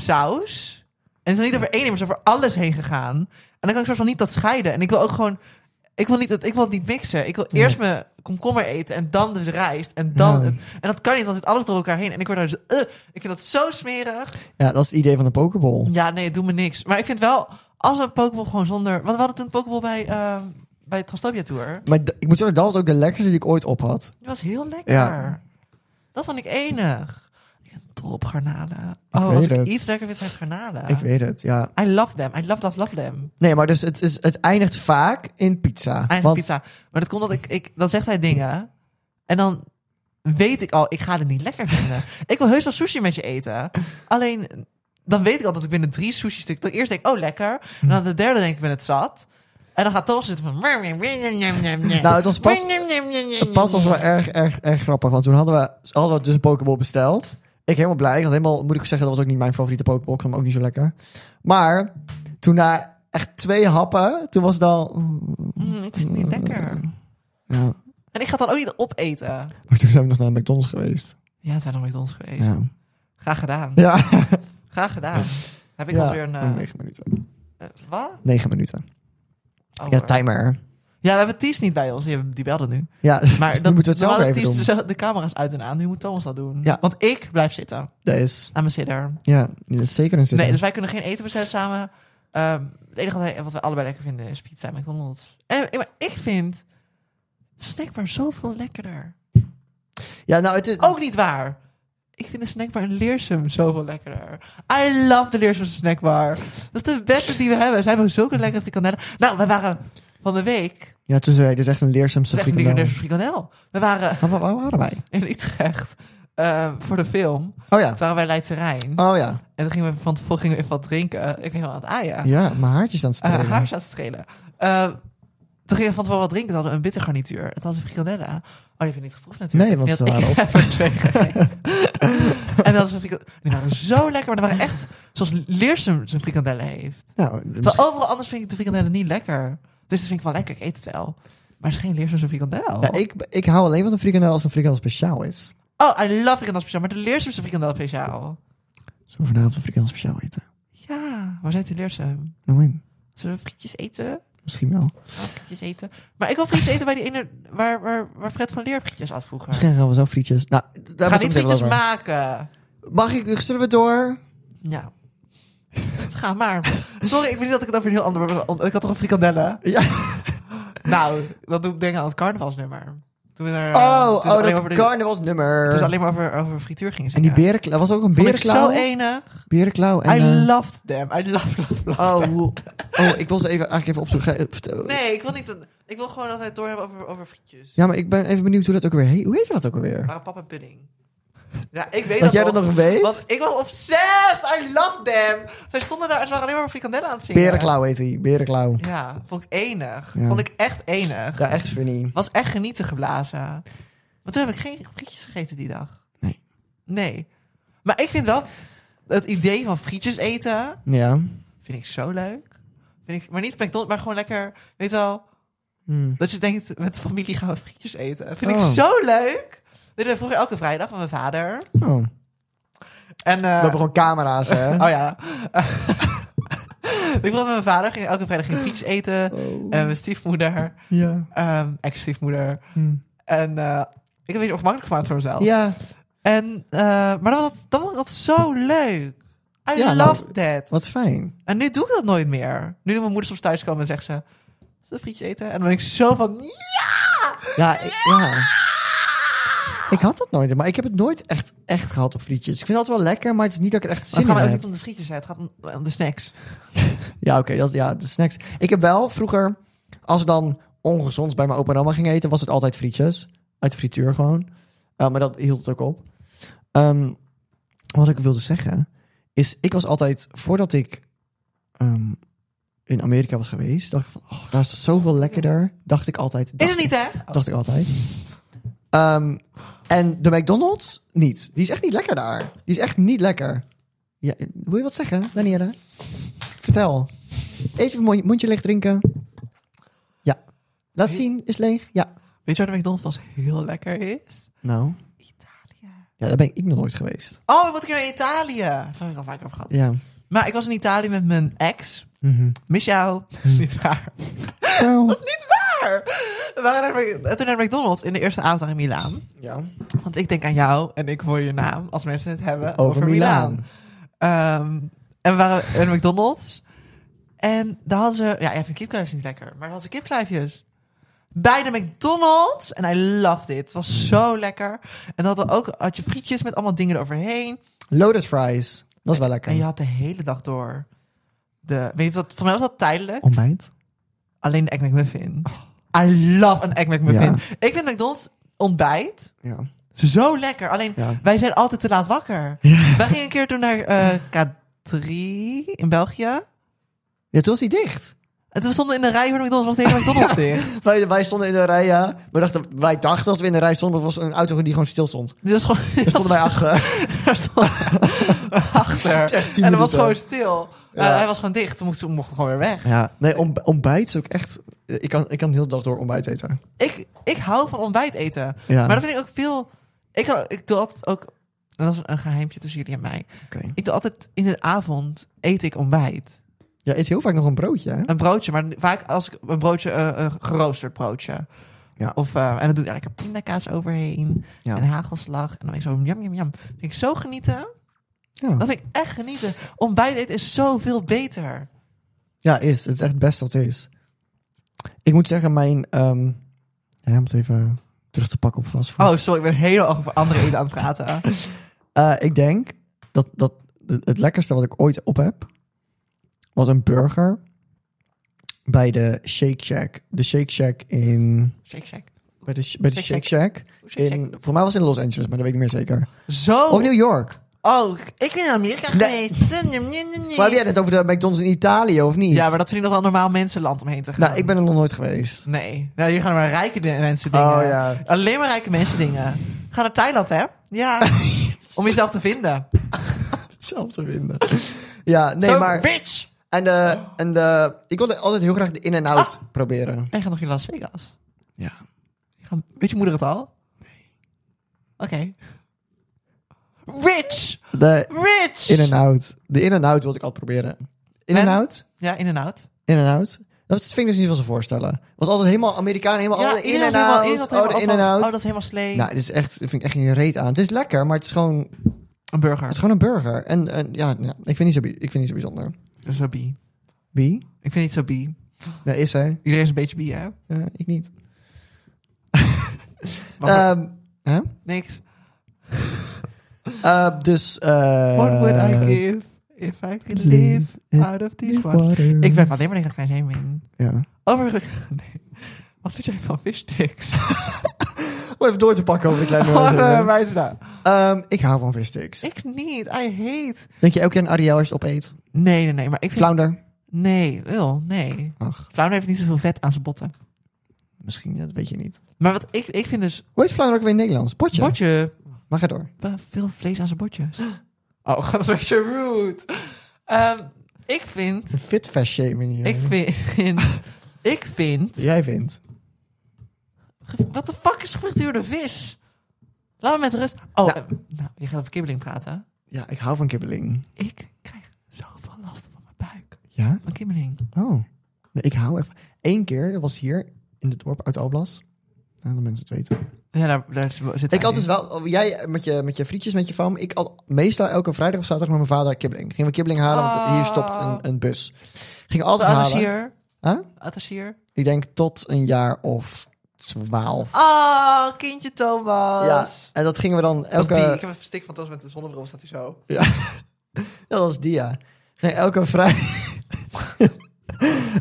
[SPEAKER 2] saus. En het is niet over één ding, maar het is over alles heen gegaan. En dan kan ik soort van niet dat scheiden. En ik wil ook gewoon... Ik wil, niet, het- ik wil het niet mixen. Ik wil eerst mijn komkommer eten en dan dus rijst. En, dan
[SPEAKER 1] Ja.
[SPEAKER 2] het- en dat kan niet, want het zit alles door elkaar heen. En ik word daar dus... eh, ik vind dat zo smerig.
[SPEAKER 1] Ja, dat is het idee van een pokeball.
[SPEAKER 2] Ja, nee, het doet me niks. Maar ik vind wel, als een Pokéball gewoon zonder... Want we hadden toen een Pokéball bij, ehm bij het Transtopia Tour.
[SPEAKER 1] Maar d- ik moet zeggen, dat was ook de lekkerste die ik ooit op had.
[SPEAKER 2] Die was heel lekker.
[SPEAKER 1] Ja.
[SPEAKER 2] Dat vond ik enig. Ik ben dol op garnalen. Oh,
[SPEAKER 1] weet
[SPEAKER 2] als ik
[SPEAKER 1] het.
[SPEAKER 2] iets lekker vind, zijn garnalen.
[SPEAKER 1] Ik weet het, ja.
[SPEAKER 2] I love them. I love, love, love them.
[SPEAKER 1] Nee, maar dus het, is, het eindigt vaak in pizza.
[SPEAKER 2] Eigen
[SPEAKER 1] Want-
[SPEAKER 2] pizza. Maar dat komt dat ik, ik... Dan zegt hij dingen. En dan weet ik al, ik ga het niet lekker vinden. ik wil heus wel sushi met je eten. Alleen, dan weet ik al dat ik binnen drie sushi stukken... Dat ik eerst denk, oh, lekker. En dan de derde denk ik, ik ben het zat. En dan gaat Thomas zitten van...
[SPEAKER 1] Nou, het was pas, het pas was wel erg, erg, erg grappig. Want toen hadden we, hadden we dus een Pokéball besteld. Ik helemaal blij. Ik had helemaal, moet ik zeggen, dat was ook niet mijn favoriete Pokéball. Ik vond hem ook niet zo lekker. Maar toen na echt twee happen, toen was het al...
[SPEAKER 2] Mm, ik vind het niet lekker.
[SPEAKER 1] Ja.
[SPEAKER 2] En ik ga het dan ook niet opeten.
[SPEAKER 1] Maar toen zijn we nog naar de McDonald's geweest.
[SPEAKER 2] Ja, het zijn nog met ons geweest.
[SPEAKER 1] Ja.
[SPEAKER 2] Graag gedaan.
[SPEAKER 1] Ja.
[SPEAKER 2] Graag gedaan. Heb ik
[SPEAKER 1] ja. Oh,
[SPEAKER 2] alweer een... eh,
[SPEAKER 1] Negen minuten.
[SPEAKER 2] eh, wat?
[SPEAKER 1] Negen minuten.
[SPEAKER 2] Oh,
[SPEAKER 1] Ja,
[SPEAKER 2] hoor.
[SPEAKER 1] timer.
[SPEAKER 2] ja, we hebben Ties niet bij ons. Die, hebben- die belde nu.
[SPEAKER 1] Ja,
[SPEAKER 2] Maar
[SPEAKER 1] dus nu moeten
[SPEAKER 2] dat,
[SPEAKER 1] we het zelf
[SPEAKER 2] normaal
[SPEAKER 1] even doen.
[SPEAKER 2] Ties de, de camera's uit en aan. Nu moet Thomas dat doen.
[SPEAKER 1] Ja.
[SPEAKER 2] Want ik blijf zitten aan
[SPEAKER 1] Dat is,
[SPEAKER 2] mijn zither.
[SPEAKER 1] ja, dat is zeker een zin.
[SPEAKER 2] dus- Nee, dus wij kunnen geen eten bestellen samen. Ehm, het enige wat, wij- wat we allebei lekker vinden is pizza en McDonald's. En, en- maar ik vind snackbar zoveel lekkerder.
[SPEAKER 1] Ja, nou, het is...
[SPEAKER 2] Ook niet waar. Ik vind de snackbar in Leersum zoveel lekkerder. I love de Leersumse snackbar. Dat is de beste die we hebben. Ze hebben zulke lekkere frikandellen. Nou, we waren van de week...
[SPEAKER 1] Ja, toen zei hij, dit is echt een leerzaamste
[SPEAKER 2] Slecht een
[SPEAKER 1] frikandel.
[SPEAKER 2] Leersumse frikandel. We waren
[SPEAKER 1] Waar, waar Oh, waar waren wij?
[SPEAKER 2] in Utrecht eh, voor de film.
[SPEAKER 1] Oh ja.
[SPEAKER 2] Toen waren wij Leidse Rijn.
[SPEAKER 1] Oh ja.
[SPEAKER 2] En toen gingen we van tevoren gingen we even wat drinken. eh, Ik ben helemaal aan het aaien.
[SPEAKER 1] Ja, mijn haartjes aan het
[SPEAKER 2] Eh,
[SPEAKER 1] strelen.
[SPEAKER 2] haar staat te strelen. Eh, toen gingen we van tevoren wat drinken. Toen hadden we een bittergarnituur. Het had een frikandellen. Oh, die heb je niet geproefd natuurlijk.
[SPEAKER 1] Nee, want
[SPEAKER 2] Die
[SPEAKER 1] ze
[SPEAKER 2] had-
[SPEAKER 1] waren
[SPEAKER 2] ik
[SPEAKER 1] op.
[SPEAKER 2] heb er twee gegeten. en dat was een frikandellen. Die waren zo lekker. Maar die waren echt zoals Leersum zijn frikandellen heeft.
[SPEAKER 1] Nou, misschien-
[SPEAKER 2] Terwijl overal anders vind ik de frikandellen niet lekker. Dus dat vind ik wel lekker. Ik eet het wel. Maar het is geen Leersum zijn frikandel.
[SPEAKER 1] Ja, ik, ik hou alleen van een frikandel als een frikandel speciaal is.
[SPEAKER 2] Oh, I love frikandel speciaal. Maar de Leersum zijn frikandel speciaal.
[SPEAKER 1] Zullen we vanavond een frikandel speciaal eten?
[SPEAKER 2] Ja, waar zijn die Leersum?
[SPEAKER 1] Nou, in.
[SPEAKER 2] Zullen we frietjes eten?
[SPEAKER 1] Misschien wel.
[SPEAKER 2] frietjes eten. Maar ik wil frietjes eten bij die ene waar, waar, waar Fred van Leer frietjes at vroeger.
[SPEAKER 1] Misschien gaan we zo frietjes... Nou, daar hebben we
[SPEAKER 2] Ga
[SPEAKER 1] het
[SPEAKER 2] niet
[SPEAKER 1] ook nog
[SPEAKER 2] frietjes
[SPEAKER 1] over.
[SPEAKER 2] maken.
[SPEAKER 1] Mag ik... Zullen we door?
[SPEAKER 2] Ja. Ga maar. Sorry, ik weet niet dat ik het over een heel ander... want Ik had toch een frikandellen?
[SPEAKER 1] Ja.
[SPEAKER 2] Nou, dat doet ik denken aan het carnavalsnummer. Toen we daar, eh,
[SPEAKER 1] Oh,
[SPEAKER 2] toen het
[SPEAKER 1] oh
[SPEAKER 2] alleen maar
[SPEAKER 1] dat
[SPEAKER 2] over de-
[SPEAKER 1] carnavalsnummer.
[SPEAKER 2] Toen ze alleen maar over, over frituur gingen
[SPEAKER 1] En die
[SPEAKER 2] zingen.
[SPEAKER 1] berenklauw. Was ook een
[SPEAKER 2] Vond ik
[SPEAKER 1] berenklauw?
[SPEAKER 2] zo enig.
[SPEAKER 1] Berenklauw en...
[SPEAKER 2] I
[SPEAKER 1] eh,
[SPEAKER 2] loved them. I love, love, love
[SPEAKER 1] Oh,
[SPEAKER 2] them.
[SPEAKER 1] hoe- oh, ik wil ze even, eigenlijk even opzoeken. Ge- vertel-
[SPEAKER 2] Nee, ik wil niet... een- ik wil gewoon dat wij het door hebben over, over frietjes.
[SPEAKER 1] Ja, maar ik ben even benieuwd hoe dat ook weer heet. Hoe heet dat ook alweer?
[SPEAKER 2] Waren pap en pudding. Ja, ik weet
[SPEAKER 1] Dat jij dat
[SPEAKER 2] nog
[SPEAKER 1] nog weet?
[SPEAKER 2] Want ik was obsessed. I love them. Zij stonden daar en ze waren alleen maar frikandellen aan het zingen.
[SPEAKER 1] Berenklauw heet die. Berenklauw.
[SPEAKER 2] Ja, vond ik enig.
[SPEAKER 1] Ja.
[SPEAKER 2] Vond ik echt enig.
[SPEAKER 1] Ja, echt funny.
[SPEAKER 2] Was echt genieten geblazen. Maar toen heb ik geen frietjes gegeten die dag.
[SPEAKER 1] Nee.
[SPEAKER 2] Nee. Maar ik vind wel het idee van frietjes eten
[SPEAKER 1] Ja.
[SPEAKER 2] vind ik zo leuk. Vind ik, maar niet McDonald's, maar gewoon lekker, weet je wel,
[SPEAKER 1] Hmm.
[SPEAKER 2] dat je denkt met de familie gaan we frietjes eten. Dat vind ik
[SPEAKER 1] Oh.
[SPEAKER 2] zo leuk. Dat deden we vroeger elke vrijdag met mijn vader.
[SPEAKER 1] Oh.
[SPEAKER 2] En, eh,
[SPEAKER 1] We hebben gewoon camera's, hè?
[SPEAKER 2] Oh ja. ik was met mijn vader, ging elke vrijdag ging frietjes eten. En mijn stiefmoeder,
[SPEAKER 1] Ja.
[SPEAKER 2] ehm, ex-stiefmoeder. En eh, ik heb het een beetje ongemakkelijk gemaakt voor mezelf.
[SPEAKER 1] Ja.
[SPEAKER 2] En, eh, maar dat was, dat was dat zo leuk. I
[SPEAKER 1] Ja, nou-
[SPEAKER 2] love that.
[SPEAKER 1] Wat fijn.
[SPEAKER 2] En nu doe ik dat nooit meer. Nu doet mijn moeder soms thuis komen en zegt ze... Zullen we frietje eten? En dan ben ik zo van... Ja!
[SPEAKER 1] Ja, ik, ja. Ik had dat nooit, maar ik heb het nooit echt, echt gehad op frietjes. Ik vind het altijd wel lekker, maar het is niet dat ik er echt
[SPEAKER 2] Maar het
[SPEAKER 1] zin in
[SPEAKER 2] gaat mij ook
[SPEAKER 1] heb.
[SPEAKER 2] niet om de frietjes, hè. het gaat om, om de snacks.
[SPEAKER 1] Ja, oké, dat ja, de snacks. Ik heb wel vroeger, als we dan ongezond bij mijn opa en oma gingen eten, was het altijd frietjes. Uit de frituur gewoon. Eh, maar dat hield het ook op. Ehm, wat ik wilde zeggen, is ik was altijd, voordat ik ehm, in Amerika was geweest, dacht ik van, oh, daar is het zoveel lekkerder. Dacht ik altijd.
[SPEAKER 2] Is
[SPEAKER 1] Dacht
[SPEAKER 2] het niet,
[SPEAKER 1] ik,
[SPEAKER 2] hè?
[SPEAKER 1] Dacht ik altijd. Ehm, en de McDonald's niet. Die is echt niet lekker daar. Die is echt niet lekker. Ja, eh, wil je wat zeggen, Danielle? Vertel. Eet even mon- mondje leeg drinken. Ja. Laat zien, is leeg. Ja.
[SPEAKER 2] Weet je waar de McDonald's was heel lekker is?
[SPEAKER 1] Nou,
[SPEAKER 2] Italië.
[SPEAKER 1] ja, daar ben ik nog nooit geweest.
[SPEAKER 2] Oh, ik moet een keer naar Italië. Daar heb ik al vaker over gehad.
[SPEAKER 1] Ja.
[SPEAKER 2] Maar ik was in Italië met mijn ex. Mis jou. Mhm. Dat is niet waar.
[SPEAKER 1] Nou.
[SPEAKER 2] Dat is niet waar! We waren naar, de Mc- en toen naar de McDonald's in de eerste avond in Milaan.
[SPEAKER 1] Ja.
[SPEAKER 2] Want ik denk aan jou en ik hoor je naam als mensen het hebben over,
[SPEAKER 1] Over
[SPEAKER 2] Milaan.
[SPEAKER 1] Milaan.
[SPEAKER 2] Ehm, en we waren in de McDonald's. En daar hadden ze... Ja, ik vind kipkluifjes niet lekker. Maar daar hadden ze kipkluifjes. Bij de McDonald's. En I loved it. Het was zo lekker. En dan ook, had je frietjes met allemaal dingen eroverheen.
[SPEAKER 1] Loaded fries. Dat is wel lekker.
[SPEAKER 2] En je had de hele dag door de... Weet je of dat... Voor mij was dat tijdelijk.
[SPEAKER 1] Ontbijt?
[SPEAKER 2] Alleen de Egg McMuffin. I love een Egg McMuffin. Ik vind McDonald's ontbijt
[SPEAKER 1] Ja.
[SPEAKER 2] zo lekker. Alleen,
[SPEAKER 1] Ja.
[SPEAKER 2] wij zijn altijd te laat wakker. Wij gingen een keer toen naar eh, K3 in België.
[SPEAKER 1] Ja, toen was die dicht.
[SPEAKER 2] En toen we stonden in de rij voor de McDonald's, was de hele McDonald's dicht.
[SPEAKER 1] Wij, wij stonden in de rij, ja. We dachten, wij dachten dat we in de rij stonden, maar het was een auto die gewoon stil stond.
[SPEAKER 2] Dit was gewoon...
[SPEAKER 1] Daar stonden wij achter.
[SPEAKER 2] Daar stonden we achter.
[SPEAKER 1] Echt tien
[SPEAKER 2] en het was
[SPEAKER 1] minuten.
[SPEAKER 2] gewoon stil.
[SPEAKER 1] Ja.
[SPEAKER 2] Eh, hij was gewoon dicht. Toen moesten we mochten we gewoon weer weg.
[SPEAKER 1] Ja. Nee, ontb- ontbijt is ook echt... Ik kan, ik kan de hele dag door ontbijt eten.
[SPEAKER 2] ik, ik hou van ontbijt eten.
[SPEAKER 1] Ja.
[SPEAKER 2] Maar dat vind ik ook veel. Ik, hou- ik doe altijd ook. en Dat is een geheimtje tussen jullie en mij.
[SPEAKER 1] Oké.
[SPEAKER 2] Ik doe altijd in de avond eet ik ontbijt.
[SPEAKER 1] Ja, eet heel vaak nog een broodje, hè?
[SPEAKER 2] Een broodje, maar vaak als ik een broodje, eh, een geroosterd broodje.
[SPEAKER 1] Ja.
[SPEAKER 2] Of, eh, en dan doe ik daar lekker pindakaas overheen.
[SPEAKER 1] Ja.
[SPEAKER 2] En hagelslag. En dan ben ik zo jam, jam, jam. Dat vind ik zo genieten.
[SPEAKER 1] Ja.
[SPEAKER 2] Dat vind ik echt genieten. Ontbijt eten is zoveel beter.
[SPEAKER 1] Ja, is. Het is echt het beste wat er is. Ik moet zeggen, mijn... ehm ja, om het even terug te pakken op vastvoer.
[SPEAKER 2] Oh, sorry, ik ben heel erg over andere eten aan het praten.
[SPEAKER 1] Eh, ik denk dat, dat het lekkerste wat ik ooit op heb was een burger bij de Shake Shack. De Shake Shack in.
[SPEAKER 2] Shake, shake.
[SPEAKER 1] Bij de, bij de
[SPEAKER 2] Shake
[SPEAKER 1] Shake Shack.
[SPEAKER 2] Shake Shack.
[SPEAKER 1] In, voor mij was het in Los Angeles, maar dat weet ik niet meer zeker.
[SPEAKER 2] Zo.
[SPEAKER 1] Of New York.
[SPEAKER 2] Oh, ik ben in Amerika
[SPEAKER 1] Nee.
[SPEAKER 2] geweest. Nee, nee, nee, nee.
[SPEAKER 1] Maar heb jij het over de McDonald's in Italië of niet?
[SPEAKER 2] Ja, maar dat is niet nog wel normaal mensenland omheen te gaan.
[SPEAKER 1] Nou, ik ben er nog nooit geweest.
[SPEAKER 2] Nee, nou, hier gaan maar rijke de- mensen dingen.
[SPEAKER 1] Oh, ja.
[SPEAKER 2] Alleen maar rijke mensen dingen. Ga naar Thailand, hè? Ja. Om jezelf te vinden.
[SPEAKER 1] Zelf te vinden. Ja, nee,
[SPEAKER 2] Zo,
[SPEAKER 1] maar.
[SPEAKER 2] bitch!
[SPEAKER 1] En de, en de. Ik wilde altijd heel graag de in-en-out
[SPEAKER 2] Ah.
[SPEAKER 1] proberen.
[SPEAKER 2] Wij gaan nog in Las Vegas.
[SPEAKER 1] Ja.
[SPEAKER 2] Je gaat- Weet je moeder het al? Nee. Oké. Rich!
[SPEAKER 1] De
[SPEAKER 2] Rich!
[SPEAKER 1] in-en-out. De in-en-out wilde ik altijd proberen. In-en-out?
[SPEAKER 2] Ja, in en out.
[SPEAKER 1] In en out. Dat vind ik dus niet van ze voorstellen. Was altijd helemaal Amerikaan, helemaal
[SPEAKER 2] ja,
[SPEAKER 1] alle Oh, in
[SPEAKER 2] iedereen
[SPEAKER 1] en
[SPEAKER 2] is helemaal-
[SPEAKER 1] out.
[SPEAKER 2] iedereen had
[SPEAKER 1] Oh, de in
[SPEAKER 2] helemaal
[SPEAKER 1] en
[SPEAKER 2] afval.
[SPEAKER 1] out.
[SPEAKER 2] Oh, dat is helemaal slee.
[SPEAKER 1] Nou, dit is echt, dat vind ik echt geen reet aan. Het is lekker, maar het is gewoon, het is
[SPEAKER 2] Een burger.
[SPEAKER 1] gewoon een burger. En, en ja, nou, ik, vind niet zo, bij- ik vind niet zo bijzonder.
[SPEAKER 2] Dat is zo bi.
[SPEAKER 1] Wie?
[SPEAKER 2] Ik vind niet zo bi.
[SPEAKER 1] Nee, is hij.
[SPEAKER 2] Iedereen is een beetje bi, hè?
[SPEAKER 1] Ja, ik niet.
[SPEAKER 2] Wacht,
[SPEAKER 1] Ehm, hè?
[SPEAKER 2] niks.
[SPEAKER 1] Eh, dus... eh,
[SPEAKER 2] What would I give if I could live
[SPEAKER 1] live in
[SPEAKER 2] out of these waters?
[SPEAKER 1] water.
[SPEAKER 2] Ik ben alleen maar denk dat ik naar heen ben.
[SPEAKER 1] Ja.
[SPEAKER 2] Overigens, nee. Wat vind jij van fishsticks?
[SPEAKER 1] Om even door te pakken over de kleine
[SPEAKER 2] Waar eh,
[SPEAKER 1] nuance.
[SPEAKER 2] waar is het nou?
[SPEAKER 1] Ehm, Ik hou van vissticks.
[SPEAKER 2] Ik niet, I hate.
[SPEAKER 1] Denk je elke keer een Ariel als je het opeet?
[SPEAKER 2] Nee, nee, nee, maar ik vind...
[SPEAKER 1] Flounder?
[SPEAKER 2] Nee, wil, nee.
[SPEAKER 1] Ach,
[SPEAKER 2] Flounder heeft niet zoveel vet aan zijn botten.
[SPEAKER 1] misschien, dat weet je niet.
[SPEAKER 2] Maar wat ik, ik vind dus...
[SPEAKER 1] Hoe heet flounder ook weer in het Nederlands? Potje?
[SPEAKER 2] Botje,
[SPEAKER 1] Maar ga door.
[SPEAKER 2] eh, veel vlees aan zijn botjes. Oh, dat is een beetje rude. Ehm, ik vind...
[SPEAKER 1] Een fit fast shaming hier.
[SPEAKER 2] Ik vind... Ik vind...
[SPEAKER 1] Jij vindt.
[SPEAKER 2] Wat de fuck is gefrituurde vis? Laat me met rust. Oh, eh, nou, je gaat over kibbeling praten.
[SPEAKER 1] Ja, ik hou van kibbeling.
[SPEAKER 2] Ik krijg zoveel last van mijn buik.
[SPEAKER 1] Ja?
[SPEAKER 2] Van kibbeling.
[SPEAKER 1] Oh. Nee, ik hou echt van... Eén keer, dat was hier in het dorp uit Alblas. Nou, dat mensen het weten.
[SPEAKER 2] Ja, daar, daar zit hij
[SPEAKER 1] Ik altijd wel... oh, Jij met je, met je frietjes, met je fam. Ik al, meestal elke vrijdag of zaterdag met mijn vader kibbeling. Gingen we kibbeling halen, want hier stopt een, een bus. Ging
[SPEAKER 2] in.
[SPEAKER 1] altijd
[SPEAKER 2] De
[SPEAKER 1] halen.
[SPEAKER 2] attachier.
[SPEAKER 1] Huh?
[SPEAKER 2] Attachier.
[SPEAKER 1] Ik denk tot een jaar of twaalf.
[SPEAKER 2] Oh, kindje Thomas.
[SPEAKER 1] Ja, en dat gingen we dan elke...
[SPEAKER 2] Dat is die. Ik heb een stik van Thomas met de zonnebril. op, Staat hij zo.
[SPEAKER 1] Ja, dat was die, ja. Ging elke vrijdag...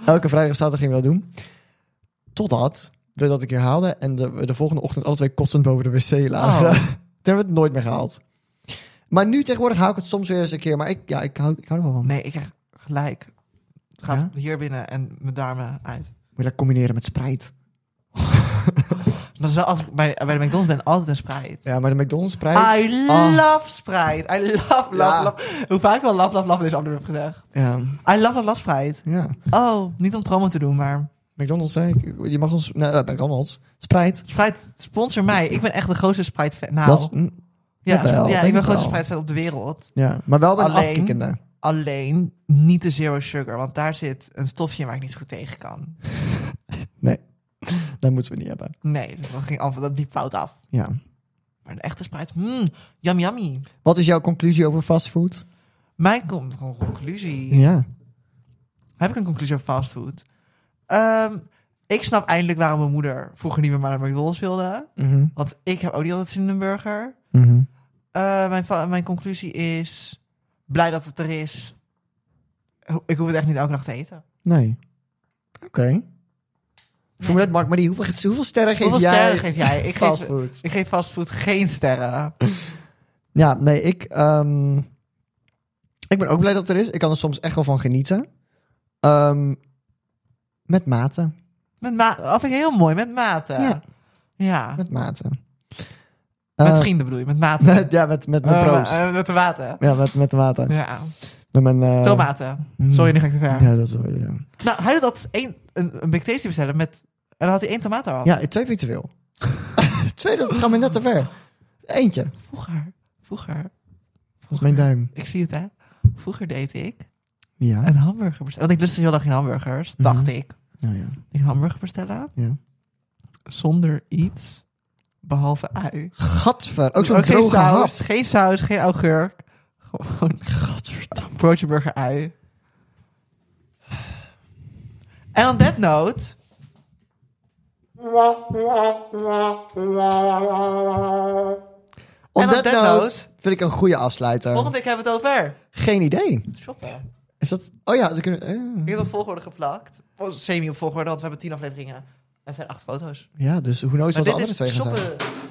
[SPEAKER 1] elke vrijdag en zaterdag gingen we dat doen. Totdat we dat een keer haalden en de, we de volgende ochtend alle twee kotsend boven de wc lagen.
[SPEAKER 2] Oh.
[SPEAKER 1] Toen hebben we het nooit meer gehaald. Maar nu tegenwoordig hou ik het soms weer eens een keer. Maar ik, ja, ik, hou, ik hou er wel van.
[SPEAKER 2] Nee, ik krijg gelijk gaat
[SPEAKER 1] Ja?
[SPEAKER 2] hier binnen en mijn darmen uit.
[SPEAKER 1] Moet je dat combineren met Sprite?
[SPEAKER 2] Dat is wel als ik bij, bij de McDonald's ben altijd een Sprite.
[SPEAKER 1] Ja, maar de McDonald's Sprite...
[SPEAKER 2] I
[SPEAKER 1] Ah,
[SPEAKER 2] love Sprite. I love, love,
[SPEAKER 1] Ja.
[SPEAKER 2] love. Hoe vaak ik wel love, love, love in deze andere heb gezegd.
[SPEAKER 1] ja,
[SPEAKER 2] I love, love, love Sprite.
[SPEAKER 1] ja.
[SPEAKER 2] Oh, niet om promo te doen, maar...
[SPEAKER 1] McDonald's, hè? Ik- Je mag ons... Nee, eh, McDonald's. Sprite.
[SPEAKER 2] Sprite, sponsor mij. Ik ben echt de grootste Sprite-fan. Nou,
[SPEAKER 1] Dat is- mm,
[SPEAKER 2] ja,
[SPEAKER 1] jawel,
[SPEAKER 2] ja,
[SPEAKER 1] denk
[SPEAKER 2] ik ben
[SPEAKER 1] het
[SPEAKER 2] de grootste
[SPEAKER 1] wel.
[SPEAKER 2] Sprite-fan op de wereld.
[SPEAKER 1] ja, maar wel bij een
[SPEAKER 2] Alleen-
[SPEAKER 1] afkikkende.
[SPEAKER 2] Alleen niet de zero sugar, want daar zit een stofje in waar ik niet zo goed tegen kan.
[SPEAKER 1] Nee, dat moeten we niet hebben.
[SPEAKER 2] Nee, dus dat ging af, dat liep fout af.
[SPEAKER 1] Ja.
[SPEAKER 2] Maar een echte Sprite, mmm, yum yummy.
[SPEAKER 1] Wat is jouw conclusie over fastfood?
[SPEAKER 2] Mijn komt gewoon conclusie.
[SPEAKER 1] Ja.
[SPEAKER 2] Heb ik een conclusie over fastfood? Ehm, ik snap eindelijk waarom mijn moeder vroeger niet meer naar de McDonald's wilde.
[SPEAKER 1] Mhm.
[SPEAKER 2] Want ik heb ook niet altijd zin in een burger.
[SPEAKER 1] Mhm.
[SPEAKER 2] Eh, mijn, va- mijn conclusie is... Blij dat het er is. Ho- Ik hoef het echt niet elke dag te eten.
[SPEAKER 1] Nee. Oké. Voor me dat, Mark, maar die, hoeveel, hoeveel sterren geef
[SPEAKER 2] Hoeveel
[SPEAKER 1] jij?
[SPEAKER 2] sterren geef jij? Ik geef,
[SPEAKER 1] fastfood.
[SPEAKER 2] ik geef fastfood geen sterren.
[SPEAKER 1] Ja, nee, ik, ehm, ik ben ook blij dat het er is. Ik kan er soms echt wel van genieten. Ehm, met mate.
[SPEAKER 2] Met ma dat vind ik heel mooi, met mate.
[SPEAKER 1] Ja.
[SPEAKER 2] Ja.
[SPEAKER 1] Met mate.
[SPEAKER 2] Met
[SPEAKER 1] Eh,
[SPEAKER 2] vrienden bedoel je, met mate.
[SPEAKER 1] met- ja, met, met mijn
[SPEAKER 2] Eh,
[SPEAKER 1] bro's.
[SPEAKER 2] eh, met de water.
[SPEAKER 1] ja, met, met de water.
[SPEAKER 2] Ja.
[SPEAKER 1] Met mijn... eh,
[SPEAKER 2] Tomaten.
[SPEAKER 1] mm.
[SPEAKER 2] Sorry, nu ga ik te ver.
[SPEAKER 1] Ja, dat is wel... Ja,
[SPEAKER 2] Nou, hij had dat één, een, een McTasty bestellen met... En dan had hij één tomaat al.
[SPEAKER 1] ja twee vind ik te veel. twee, dat gaat me net te ver. Eentje.
[SPEAKER 2] Vroeger, vroeger.
[SPEAKER 1] Dat is mijn duim.
[SPEAKER 2] Ik zie het, hè. Vroeger deed ik
[SPEAKER 1] Ja.
[SPEAKER 2] een hamburger bestellen. Want ik lustte heel dag geen hamburgers, dacht
[SPEAKER 1] Mhm.
[SPEAKER 2] ik.
[SPEAKER 1] Nou ja.
[SPEAKER 2] Ik een hamburger bestellen.
[SPEAKER 1] Ja.
[SPEAKER 2] Zonder iets, behalve ui.
[SPEAKER 1] Gadver. Ook zo'n
[SPEAKER 2] Ook geen
[SPEAKER 1] droge
[SPEAKER 2] saus,
[SPEAKER 1] hap.
[SPEAKER 2] geen saus, geen augurk. Gewoon
[SPEAKER 1] Gadverdamme.
[SPEAKER 2] broodje burger ui. En on that note...
[SPEAKER 1] On
[SPEAKER 2] En op
[SPEAKER 1] that
[SPEAKER 2] that
[SPEAKER 1] note,
[SPEAKER 2] note-
[SPEAKER 1] vind ik een goede afsluiter.
[SPEAKER 2] Volgende keer hebben we het over
[SPEAKER 1] Geen idee.
[SPEAKER 2] shoppen.
[SPEAKER 1] Is dat... Oh ja, ze kunnen... eh.
[SPEAKER 2] Ik heb op volgorde geplakt. Oh, Semi op volgorde, want we hebben tien afleveringen. En het zijn acht foto's.
[SPEAKER 1] Ja, dus hoe knows wat de
[SPEAKER 2] Maar dit
[SPEAKER 1] andere
[SPEAKER 2] is
[SPEAKER 1] twee gaan zijn.
[SPEAKER 2] shoppen.